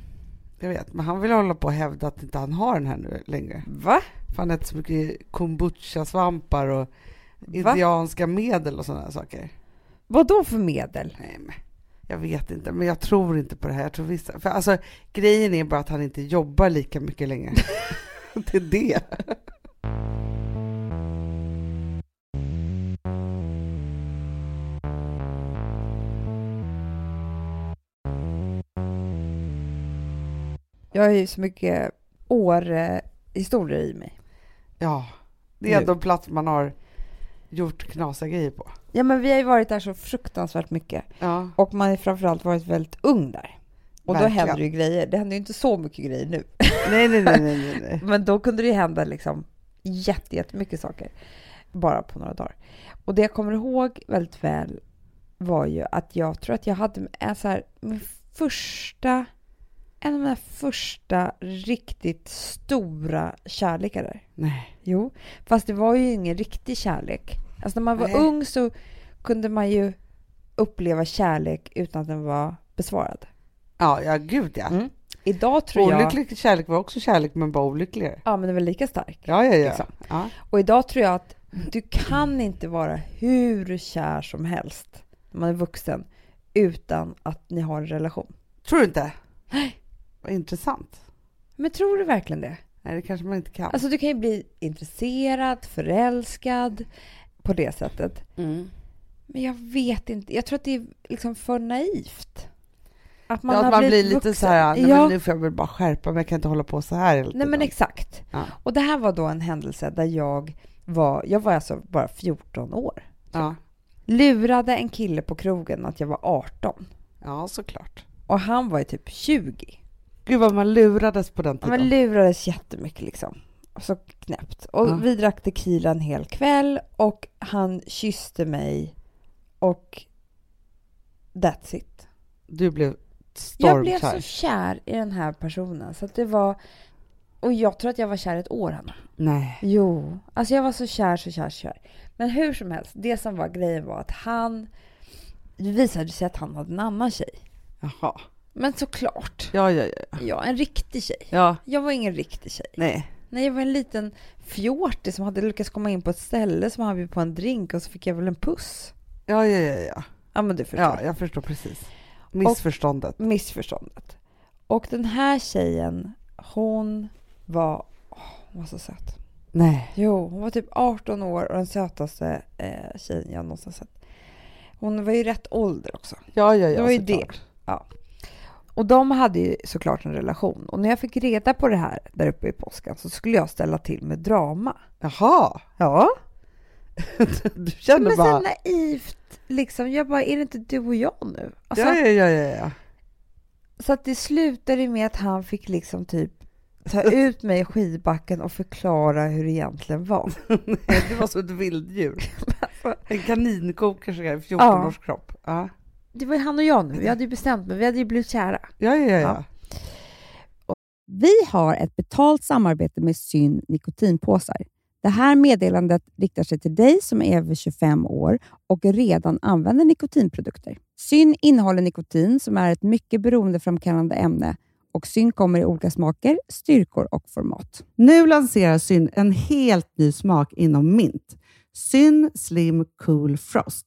[SPEAKER 1] Jag vet, men han vill hålla på och hävda att inte han har den här nu längre.
[SPEAKER 2] Va?
[SPEAKER 1] För han äter så mycket kombucha-svampar och indianska medel och sådana saker.
[SPEAKER 2] Vad då för medel?
[SPEAKER 1] Nej, men jag vet inte, men jag tror inte på det här. Jag tror visst, för alltså, grejen är bara att han inte jobbar lika mycket längre. det är det.
[SPEAKER 2] Jag har ju så mycket år-historier i mig.
[SPEAKER 1] Ja, det är
[SPEAKER 2] Nu.
[SPEAKER 1] ändå en plats man har gjort knasiga grejer på.
[SPEAKER 2] Ja men vi har ju varit där så fruktansvärt mycket.
[SPEAKER 1] Ja,
[SPEAKER 2] Och man har ju framförallt varit väldigt ung där. Och
[SPEAKER 1] Verkligen.
[SPEAKER 2] då händer det ju grejer. Det händer ju inte så mycket grejer nu.
[SPEAKER 1] nej, nej, nej, nej, nej, nej.
[SPEAKER 2] Men då kunde det ju hända liksom jätte, jättemycket saker. Bara på några dagar. Och det jag kommer ihåg väldigt väl var ju att jag tror att jag hade en så här, min första, en av mina första riktigt stora kärlekar där.
[SPEAKER 1] nej.
[SPEAKER 2] Jo, fast det var ju ingen riktig kärlek. Alltså när man var
[SPEAKER 1] Nej.
[SPEAKER 2] ung så kunde man ju uppleva kärlek utan att den var besvarad.
[SPEAKER 1] Ja, ja, gud ja.
[SPEAKER 2] Mm, Idag tror jag...
[SPEAKER 1] Olycklig kärlek var också kärlek, men bara olyckligare.
[SPEAKER 2] Ja, men den var lika stark.
[SPEAKER 1] Ja, ja, ja.
[SPEAKER 2] Liksom.
[SPEAKER 1] ja.
[SPEAKER 2] Och idag tror jag att du kan inte vara hur kär som helst när man är vuxen utan att ni har en relation.
[SPEAKER 1] Tror du inte? Vad intressant.
[SPEAKER 2] Men tror du verkligen det?
[SPEAKER 1] Nej, det kanske man inte kan.
[SPEAKER 2] Alltså du kan ju bli intresserad, förälskad på det sättet. Men jag vet inte. Jag tror att det är liksom för naivt. Att
[SPEAKER 1] ja,
[SPEAKER 2] har
[SPEAKER 1] att man
[SPEAKER 2] blivit
[SPEAKER 1] blir lite
[SPEAKER 2] vuxen.
[SPEAKER 1] så här, nej,
[SPEAKER 2] ja,
[SPEAKER 1] men nu får jag väl bara skärpa mig, jag kan inte hålla på så här hela
[SPEAKER 2] nej men
[SPEAKER 1] tiden.
[SPEAKER 2] exakt.
[SPEAKER 1] Ja.
[SPEAKER 2] Och det här var då en händelse där jag var, jag var alltså bara 14 år.
[SPEAKER 1] ja.
[SPEAKER 2] Lurade en kille på krogen att jag var 18.
[SPEAKER 1] ja, såklart.
[SPEAKER 2] Och han var ju typ 20.
[SPEAKER 1] Gud vad man lurades på den
[SPEAKER 2] Ja,
[SPEAKER 1] tiden.
[SPEAKER 2] men lurades jättemycket liksom. Och så knäppt. Och
[SPEAKER 1] Ja.
[SPEAKER 2] vi drack tequila en hel kväll och han kysste mig och that's it.
[SPEAKER 1] Du blev
[SPEAKER 2] Jag blev
[SPEAKER 1] stormkär.
[SPEAKER 2] så kär i den här personen så att det var... Och jag tror att jag var kär i ett år, Hanna.
[SPEAKER 1] Nej.
[SPEAKER 2] Jo. Alltså jag var så kär, så kär, så kär. Men hur som helst, det som var grejen var att han... Det visade sig att han hade en annan tjej.
[SPEAKER 1] Jaha.
[SPEAKER 2] Men såklart.
[SPEAKER 1] Ja, ja, ja.
[SPEAKER 2] Ja, en riktig tjej.
[SPEAKER 1] ja.
[SPEAKER 2] Jag var ingen riktig tjej.
[SPEAKER 1] Nej.
[SPEAKER 2] Nej, jag var en liten fjortis som hade lyckats komma in på ett ställe som han bjöd på en drink och så fick jag väl en puss.
[SPEAKER 1] Ja, ja, ja, ja.
[SPEAKER 2] Ja, men du förstår.
[SPEAKER 1] ja jag förstår precis. Missförståndet.
[SPEAKER 2] missförståndet. Och den här tjejen, hon var... åh, hon var så söt.
[SPEAKER 1] Nej.
[SPEAKER 2] Jo, hon var typ 18 år och den sötaste eh, tjejen jag någonsin sett. Hon var ju rätt ålder också.
[SPEAKER 1] Ja, ja, ja.
[SPEAKER 2] Det var ju
[SPEAKER 1] såklart.
[SPEAKER 2] Och de hade ju såklart en relation. Och när jag fick reda på det här där uppe i påskan så skulle jag ställa till med drama.
[SPEAKER 1] Jaha.
[SPEAKER 2] Ja,
[SPEAKER 1] Du kände
[SPEAKER 2] men
[SPEAKER 1] bara...
[SPEAKER 2] så naivt liksom. Jag bara, är det inte du och jag nu? Alltså,
[SPEAKER 1] ja, ja, ja, ja, ja.
[SPEAKER 2] Så att det slutade med att han fick liksom typ ta ut mig i skidbacken och förklara hur det egentligen var.
[SPEAKER 1] Nej, Du Eh, var som ett vilddjur. En kaninko kanske, i 14
[SPEAKER 2] Alltså. Ja.
[SPEAKER 1] års kropp. Ja,
[SPEAKER 2] Det var ju han och jag nu. Vi hade ju bestämt mig. Vi hade ju blivit kära.
[SPEAKER 1] ja, ja. ja.
[SPEAKER 2] Ja.
[SPEAKER 1] ja.
[SPEAKER 3] Vi har ett betalt samarbete med Syn nikotinpåsar. Det här meddelandet riktar sig till dig som är över 25 år och redan använder nikotinprodukter. Syn innehåller nikotin som är ett mycket beroendeframkallande ämne och Syn kommer i olika smaker, styrkor och format.
[SPEAKER 1] Nu lanserar Syn en helt ny smak inom mint. Syn Slim Cool Frost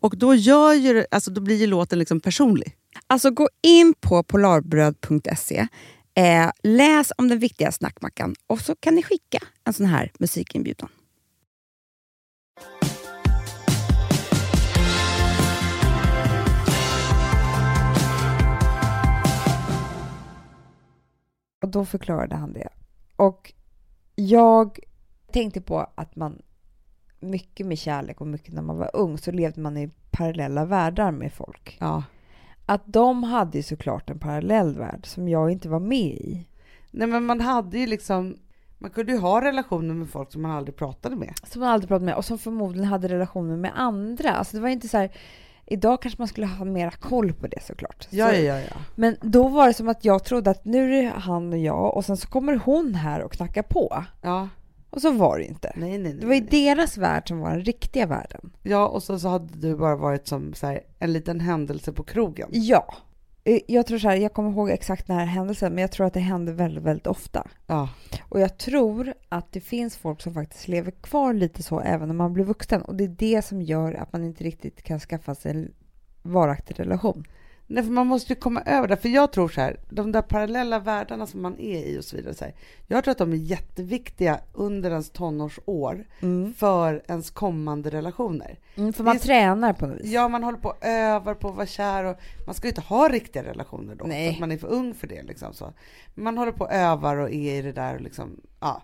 [SPEAKER 1] Och då, gör ju, det- alltså, då blir ju låten liksom personlig.
[SPEAKER 3] Alltså gå in på polarbröd.se, eh, läs om den viktiga snackmackan och så kan ni skicka en sån här musikinbjudan. Och då förklarade han det. Och jag tänkte på att man mycket med kärlek och mycket när man var ung så levde man i parallella världar med folk
[SPEAKER 1] Ja.
[SPEAKER 3] att de hade ju såklart en parallell värld som jag inte var med i.
[SPEAKER 2] Nej men man hade ju liksom, man kunde ju ha relationer med folk som man aldrig pratade med.
[SPEAKER 3] Som man aldrig pratade med och som förmodligen hade relationer med andra. Alltså det var inte så här, idag kanske man skulle ha mera koll på det såklart.
[SPEAKER 2] Ja,
[SPEAKER 3] så,
[SPEAKER 2] ja, ja. ja.
[SPEAKER 3] Men då var det som att jag trodde att nu är det han och jag och sen så kommer hon här och knackar på.
[SPEAKER 2] ja. Och så var det inte.
[SPEAKER 1] Nej, nej, nej.
[SPEAKER 2] Det var ju
[SPEAKER 1] nej.
[SPEAKER 2] deras värld som var den riktiga världen.
[SPEAKER 1] Ja, och så, så hade du bara varit som så här, en liten händelse på krogen.
[SPEAKER 2] Ja. Eh, Jag tror så här, jag kommer ihåg exakt den här händelsen, men jag tror att det händer väldigt, väldigt ofta.
[SPEAKER 1] Ja,
[SPEAKER 2] Och jag tror att det finns folk som faktiskt lever kvar lite så även när man blir vuxen. Och det är det som gör att man inte riktigt kan skaffa sig en varaktig relation.
[SPEAKER 1] Nej, för man måste ju komma över det. För jag tror så här, de där parallella världarna som man är i och så vidare. Så här, jag tror att de är jätteviktiga under ens tonårsår för ens kommande relationer.
[SPEAKER 2] Mm, för
[SPEAKER 1] man
[SPEAKER 2] man tränar på något vis.
[SPEAKER 1] Ja, man håller på och övar på att vara kär och man ska ju inte ha riktiga relationer då.
[SPEAKER 2] Nej.
[SPEAKER 1] För att man är för ung för det liksom. Så. Man håller på och övar och är i det där och liksom, ja.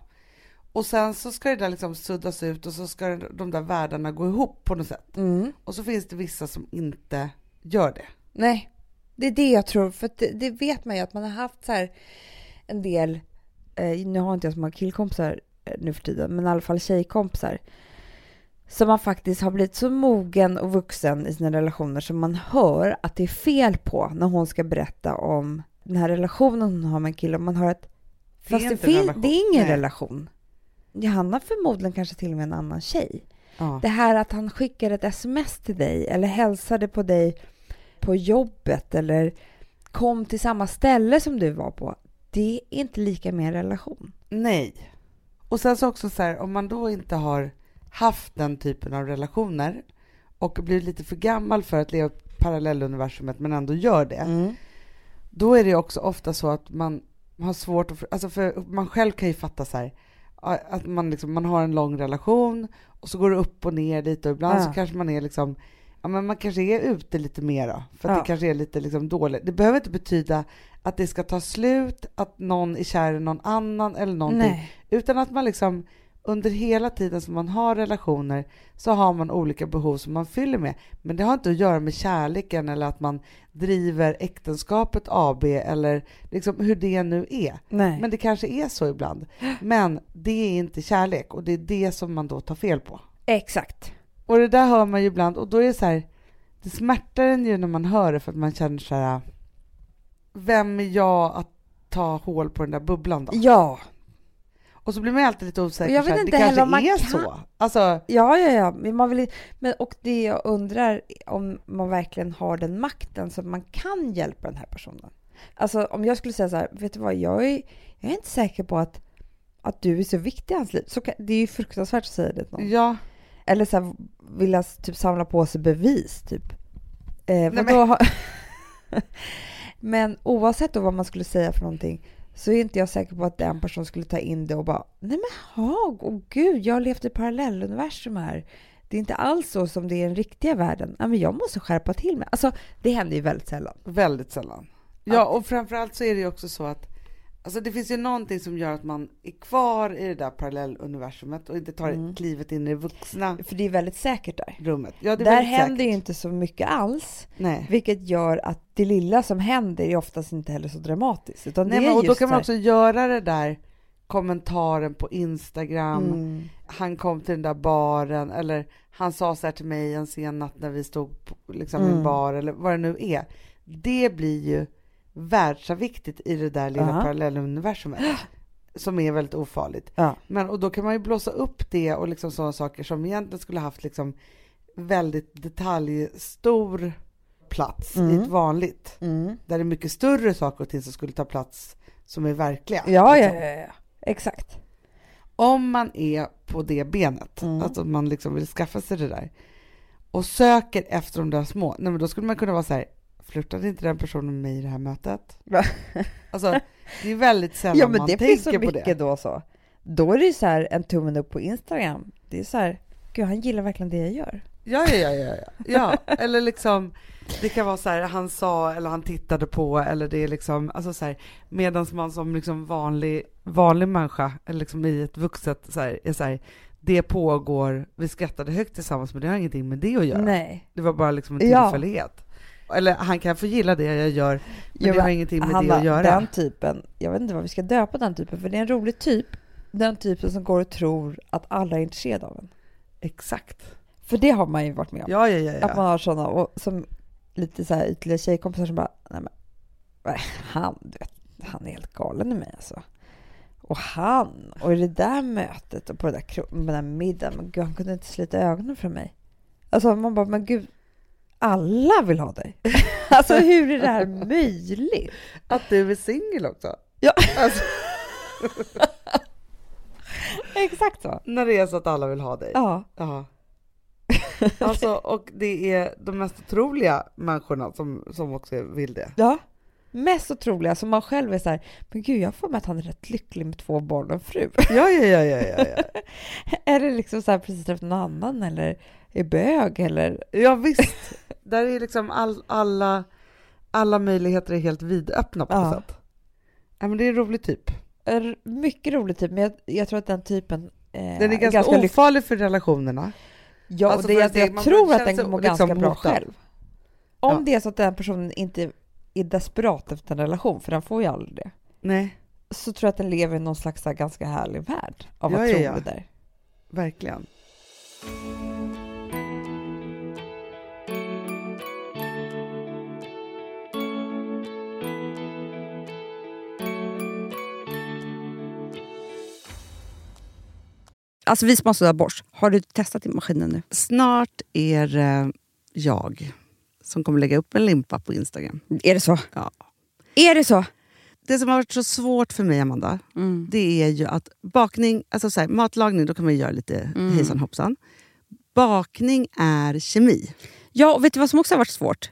[SPEAKER 1] Och sen så ska det där liksom suddas ut och så ska de där världarna gå ihop på något sätt.
[SPEAKER 2] Mm.
[SPEAKER 1] Och så finns det vissa som inte gör det.
[SPEAKER 2] Nej, det är det jag tror. För att det, det vet man ju att man har haft så här en del, eh, nu har inte jag så många killkompisar eh, nu för tiden, men i alla fall tjejkompisar. Som man faktiskt har blivit så mogen och vuxen i sina relationer som man hör att det är fel på när hon ska berätta om den här relationen hon har med en kille. Och Man hör att
[SPEAKER 1] Det är
[SPEAKER 2] fast
[SPEAKER 1] inte en
[SPEAKER 2] det, fin-
[SPEAKER 1] relation.
[SPEAKER 2] det är ingen
[SPEAKER 1] Nej.
[SPEAKER 2] relation. Han har förmodligen kanske till och med en annan tjej.
[SPEAKER 1] Ja.
[SPEAKER 2] Det här att han skickar ett sms till dig eller hälsade på dig på jobbet eller kom till samma ställe som du var på. Det är inte lika med en relation.
[SPEAKER 1] Nej. Och sen så också så här, om man då inte har haft den typen av relationer och blir lite för gammal för att leva i parallelluniversumet men ändå gör det. Då är det ju också ofta så att man har svårt att, alltså för man själv kan ju fatta så här a- att man, liksom, man har en lång relation och så går det upp och ner lite och ibland
[SPEAKER 2] Ja.
[SPEAKER 1] så kanske man är liksom Ja, men man kanske är ute lite mera, för att
[SPEAKER 2] Ja.
[SPEAKER 1] det kanske är lite liksom dåligt. Det behöver inte betyda att det ska ta slut, att någon är kär i någon annan eller någonting.
[SPEAKER 2] Nej.
[SPEAKER 1] Utan att man liksom under hela tiden som man har relationer så har man olika behov som man fyller med. Men det har inte att göra med kärleken eller att man driver äktenskapet AB eller liksom hur det nu är.
[SPEAKER 2] Nej.
[SPEAKER 1] Men det kanske är så ibland. Men det är inte kärlek och det är det som man då tar fel på.
[SPEAKER 2] Exakt.
[SPEAKER 1] Och det där hör man ju ibland och då är det så här, det smärtar en ju när man hör det för att man känner så här, vem är jag att ta hål på den där bubblan då?
[SPEAKER 2] Ja.
[SPEAKER 1] Och så blir man ju alltid lite osäker.
[SPEAKER 2] Och jag
[SPEAKER 1] så här,
[SPEAKER 2] vet inte
[SPEAKER 1] det
[SPEAKER 2] heller
[SPEAKER 1] kanske
[SPEAKER 2] om man
[SPEAKER 1] är
[SPEAKER 2] kan-
[SPEAKER 1] så. Alltså,
[SPEAKER 2] Ja, ja, ja. Men man vill, men, och det jag undrar om man verkligen har den makten så att man kan hjälpa den här personen. Alltså om jag skulle säga så här, vet du vad, jag är, jag är inte säker på att, att du är så viktig i hans liv. Så kan, det är ju fruktansvärt att säga det till någon.
[SPEAKER 1] ja.
[SPEAKER 2] Eller så här, vilja typ samla på sig bevis, typ. Eh, men,
[SPEAKER 1] men-
[SPEAKER 2] då har... men oavsett då vad man skulle säga för någonting så är inte jag säker på att den personen skulle ta in det och bara Nej men hag, åh gud, jag har levt i parallelluniversum här. Det är inte alls så som det är i den riktiga världen. Ja, men jag måste skärpa till mig. Alltså, det händer ju väldigt sällan.
[SPEAKER 1] Väldigt sällan. Ja, och framförallt så är det ju också så att alltså det finns ju någonting som gör att man är kvar i det där parallelluniversumet och inte tar
[SPEAKER 2] Mm.
[SPEAKER 1] klivet in i det vuxna
[SPEAKER 2] För det är väldigt säkert där.
[SPEAKER 1] rummet. Ja, det är
[SPEAKER 2] Där
[SPEAKER 1] väldigt
[SPEAKER 2] händer
[SPEAKER 1] säkert.
[SPEAKER 2] ju inte så mycket alls,
[SPEAKER 1] Nej.
[SPEAKER 2] vilket gör att det lilla som händer är oftast inte heller så dramatiskt. Utan
[SPEAKER 1] Nej
[SPEAKER 2] det är
[SPEAKER 1] men, och då
[SPEAKER 2] just
[SPEAKER 1] kan man
[SPEAKER 2] där-
[SPEAKER 1] också göra det där kommentaren på Instagram,
[SPEAKER 2] Mm.
[SPEAKER 1] han kom till den där baren eller han sa så här till mig en sen natt när vi stod på, liksom, i en
[SPEAKER 2] Mm.
[SPEAKER 1] bar eller vad det nu är. Det blir ju världsviktigt i det där lilla
[SPEAKER 2] Ja.
[SPEAKER 1] parallelluniversumet som är väldigt ofarligt.
[SPEAKER 2] Ja.
[SPEAKER 1] Men, och då kan man ju blåsa upp det och liksom sådana saker som egentligen skulle haft liksom väldigt detaljstor plats i
[SPEAKER 2] Mm.
[SPEAKER 1] ett vanligt. Där det är mycket större saker och ting som skulle ta plats som är verkliga.
[SPEAKER 2] Ja, ja,
[SPEAKER 1] liksom.
[SPEAKER 2] ja, ja. Exakt.
[SPEAKER 1] om man är på det benet,
[SPEAKER 2] Mm.
[SPEAKER 1] alltså om man liksom vill skaffa sig det där och söker efter de där små, nej men då skulle man kunna vara så här, flörtade inte den personen med mig i det här mötet?
[SPEAKER 2] Va?
[SPEAKER 1] Alltså det är väldigt sällan
[SPEAKER 2] Ja, men
[SPEAKER 1] man
[SPEAKER 2] det finns så
[SPEAKER 1] tänker på
[SPEAKER 2] mycket
[SPEAKER 1] det.
[SPEAKER 2] då så. Då är det ju så här en tummen upp på Instagram. Det är så här, gud han gillar verkligen det jag gör.
[SPEAKER 1] Ja, ja, ja, ja, ja. ja. Eller liksom, det kan vara så här, han sa eller han tittade på eller det är liksom, alltså så här, medan man som liksom vanlig, vanlig människa, eller liksom i ett vuxet så här, är så här, det pågår, vi skrattade högt tillsammans men det har ingenting med det att göra.
[SPEAKER 2] Nej.
[SPEAKER 1] Det var bara liksom en
[SPEAKER 2] Ja.
[SPEAKER 1] tillfällighet. Eller han kan få gilla det jag gör, men
[SPEAKER 2] Ja,
[SPEAKER 1] det har
[SPEAKER 2] men
[SPEAKER 1] ingenting med det
[SPEAKER 2] Hanna,
[SPEAKER 1] att göra.
[SPEAKER 2] den typen, jag vet inte vad vi ska döpa den typen, för det är en rolig typ. Den typen som går och tror att alla är intresserade av en.
[SPEAKER 1] Exakt.
[SPEAKER 2] För det har man ju varit med om.
[SPEAKER 1] Ja, ja, ja.
[SPEAKER 2] Att
[SPEAKER 1] ja.
[SPEAKER 2] man har sådana och som lite så här ytliga tjejkompisar som bara, nej men vad är han, du vet, han är helt galen i mig alltså. Och han, och i det där mötet och på det där, kro- på den där middagen, men gud, han kunde inte slita ögonen från mig. Alltså man bara, men gud, alla vill ha dig. alltså hur är det här möjligt?
[SPEAKER 1] Att du är singel också.
[SPEAKER 2] Ja.
[SPEAKER 1] Alltså,
[SPEAKER 2] Exakt så.
[SPEAKER 1] när det är så att alla vill ha dig.
[SPEAKER 2] Ja.
[SPEAKER 1] Ja. Alltså, och det är de mest otroliga människorna som, som också vill det.
[SPEAKER 2] Ja. Mest otroliga som man själv är så här, men gud jag får med att han är rätt lycklig med två barn och en fru.
[SPEAKER 1] Ja, ja, ja, ja, ja, ja.
[SPEAKER 2] är det liksom så här precis träffat någon annan eller är bög eller?
[SPEAKER 1] ja visst. Där är liksom all, alla, alla möjligheter är helt vidöppna på något
[SPEAKER 2] Ja.
[SPEAKER 1] sätt. Ja, men det är en rolig typ.
[SPEAKER 2] är mycket rolig typ, men jag, jag tror att den typen eh,
[SPEAKER 1] Den är ganska,
[SPEAKER 2] lycklig.
[SPEAKER 1] ofarlig för relationerna.
[SPEAKER 2] Ja, och
[SPEAKER 1] Alltså,
[SPEAKER 2] det,
[SPEAKER 1] för
[SPEAKER 2] är
[SPEAKER 1] att
[SPEAKER 2] att
[SPEAKER 1] det-
[SPEAKER 2] jag
[SPEAKER 1] man
[SPEAKER 2] tror
[SPEAKER 1] känner
[SPEAKER 2] att den
[SPEAKER 1] sig
[SPEAKER 2] mår
[SPEAKER 1] liksom
[SPEAKER 2] ganska bra
[SPEAKER 1] hotad.
[SPEAKER 2] själv. Om
[SPEAKER 1] Ja.
[SPEAKER 2] det är så att den personen inte är desperat efter en relation, för den får ju aldrig det,
[SPEAKER 1] Nej,
[SPEAKER 2] så tror jag att den lever i någon slags så här, ganska härlig värld av
[SPEAKER 1] Ja,
[SPEAKER 2] att
[SPEAKER 1] ja,
[SPEAKER 2] tro
[SPEAKER 1] ja.
[SPEAKER 2] det där.
[SPEAKER 1] verkligen.
[SPEAKER 3] Alltså vi som har sådär borst, har du testat din maskinen nu?
[SPEAKER 1] Snart är eh, jag som kommer lägga upp en limpa på Instagram.
[SPEAKER 3] Är det så?
[SPEAKER 1] Ja.
[SPEAKER 3] Är det så?
[SPEAKER 1] Det som har varit så svårt för mig, Amanda,
[SPEAKER 3] Mm.
[SPEAKER 1] det är ju att bakning, alltså så här, matlagning, då kan man ju göra lite
[SPEAKER 3] Mm.
[SPEAKER 1] hejsan hoppsan. Bakning är kemi.
[SPEAKER 3] Ja, och vet du vad som också har varit svårt?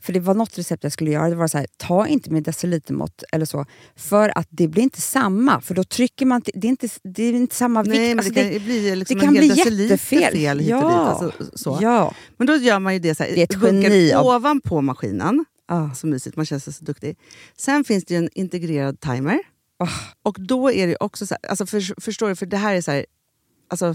[SPEAKER 3] För det var något recept jag skulle göra. Det var så här, ta inte med decilitermått eller så. För att det blir inte samma. För då trycker man... till- Det är inte, det är inte samma
[SPEAKER 1] Nej, men
[SPEAKER 3] vikt. Alltså,
[SPEAKER 1] det kan ju bli liksom
[SPEAKER 3] det kan
[SPEAKER 1] en hel
[SPEAKER 3] bli
[SPEAKER 1] deciliter
[SPEAKER 3] jättefel.
[SPEAKER 1] fel hit och
[SPEAKER 3] Ja.
[SPEAKER 1] dit. Alltså, så.
[SPEAKER 3] Ja.
[SPEAKER 1] Men då gör man ju det så här,
[SPEAKER 3] Det är ett
[SPEAKER 1] bunkar
[SPEAKER 3] geni av-
[SPEAKER 1] ovanpå maskinen.
[SPEAKER 3] Ah.
[SPEAKER 1] Så mysigt, man känns så, så duktig. Sen finns det ju en integrerad timer.
[SPEAKER 3] Ah.
[SPEAKER 1] Och då är det ju också så här, alltså för, förstår du, för det här är så här, alltså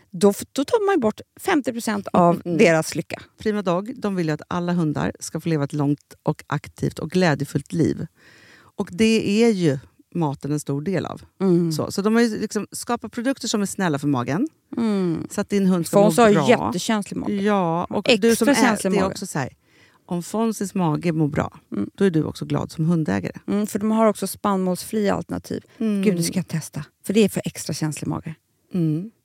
[SPEAKER 3] då, f- då tar man ju bort 50% av
[SPEAKER 1] Mm.
[SPEAKER 3] deras lycka.
[SPEAKER 1] Prima Dog de vill ju att alla hundar ska få leva ett långt och aktivt och glädjefullt liv. Och det är ju maten en stor del av. Mm. Så, så de har ju liksom skapat produkter som är snälla för magen,
[SPEAKER 3] Mm.
[SPEAKER 1] så att din hund ska
[SPEAKER 3] Fons
[SPEAKER 1] må
[SPEAKER 3] har
[SPEAKER 1] bra.
[SPEAKER 3] jättekänslig mage.
[SPEAKER 1] Ja, och
[SPEAKER 3] Extra
[SPEAKER 1] du som är,
[SPEAKER 3] känslig
[SPEAKER 1] det är
[SPEAKER 3] mage.
[SPEAKER 1] också så här, om Fonzys mage mår bra,
[SPEAKER 3] Mm.
[SPEAKER 1] då är du också glad som hundägare.
[SPEAKER 3] Mm, för de har också spannmålsfria alternativ.
[SPEAKER 1] Mm.
[SPEAKER 3] Gud, det ska jag testa. För det är för extra känslig mage.
[SPEAKER 1] Mm.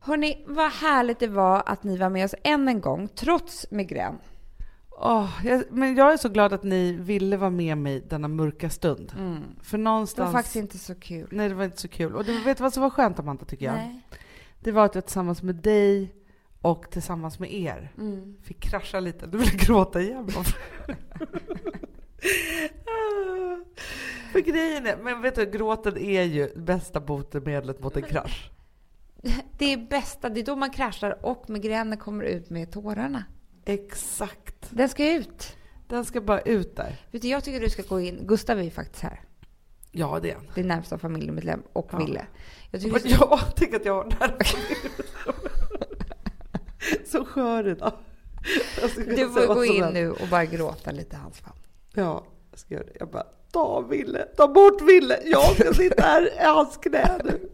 [SPEAKER 2] Hörni, vad härligt det var att ni var med oss än en gång, trots migrän.
[SPEAKER 4] Åh, jag, men jag är så glad att ni ville vara med mig denna mörka stund. För
[SPEAKER 2] Det var
[SPEAKER 4] någonstans...
[SPEAKER 2] faktiskt inte så kul.
[SPEAKER 4] Nej, det var inte så kul. Och det, vet du vad som var skönt, Amanda, tycker jag?
[SPEAKER 2] Nej.
[SPEAKER 4] Det var att jag tillsammans med dig och tillsammans med er
[SPEAKER 2] Mm.
[SPEAKER 4] fick krascha lite. Du ville gråta igen. Bob. För grejen är, men vet du, gråten är ju bästa botemedlet mot en krasch.
[SPEAKER 2] Det är bästa, det är då man kraschar och migränen kommer ut med tårarna.
[SPEAKER 4] Exakt.
[SPEAKER 2] Den ska ut.
[SPEAKER 4] Den ska bara ut där.
[SPEAKER 2] Vet du, jag tycker du ska gå in, Gustav är ju faktiskt här,
[SPEAKER 4] Ja, det är den.
[SPEAKER 2] din närmsta familjemedlem och
[SPEAKER 4] Ja.
[SPEAKER 2] Ville. Jag tycker
[SPEAKER 4] Men
[SPEAKER 2] du ska...
[SPEAKER 4] jag tänker att jag har nerver. Så skör idag. Jag ska kunna
[SPEAKER 2] Du
[SPEAKER 4] säga
[SPEAKER 2] får
[SPEAKER 4] vad
[SPEAKER 2] gå
[SPEAKER 4] som
[SPEAKER 2] in
[SPEAKER 4] helst.
[SPEAKER 2] nu och bara gråta lite i hans famn.
[SPEAKER 4] Ja, jag ska göra det. Jag bara, ta Ville, ta bort Ville. Jag ska sitta här i hans knä nu.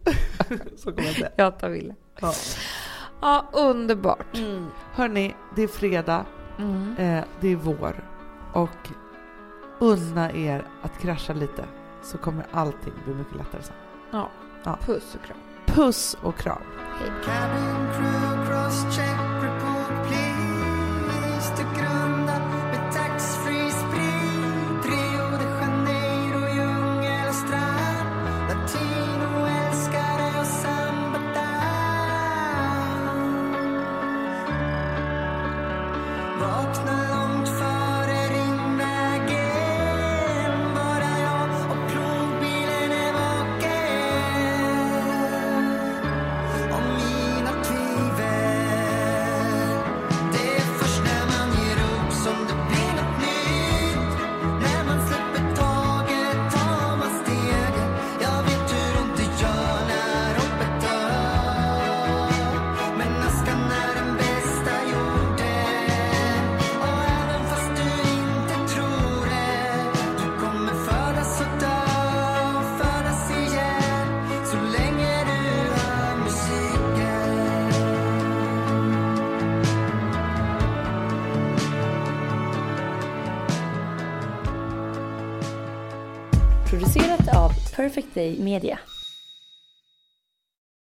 [SPEAKER 4] Så kommer jag säga.
[SPEAKER 2] Jag tar Ville.
[SPEAKER 4] Ja.
[SPEAKER 2] Ja, underbart.
[SPEAKER 4] Hörni, det är fredag,
[SPEAKER 2] Mm.
[SPEAKER 4] eh, det är vår och unna er att krascha lite så kommer allting bli mycket lättare sen.
[SPEAKER 2] Ja.
[SPEAKER 4] Ja.
[SPEAKER 2] Puss och kram.
[SPEAKER 4] Puss och kram!
[SPEAKER 2] Hej.
[SPEAKER 5] Cabin crew, crosscheck, report please. Du grundar med taxfree sprit. Rio de Janeiro, djungel och strand. Latino, älskare och samba Vakna långt före ringvägen. Bara jag och plogbilen är vaken om mina tvivel. Det är först när man ger upp som det blir något nytt. När man släpper taget tar man steget. Jag vet hur ont det gör när hoppet dör. Men askan är den bästa jorden. Och även fast du inte tror det, du kommer födas och dö och födas igen. Så länge du hör musiken.
[SPEAKER 6] Producerat av Perfect Day Media.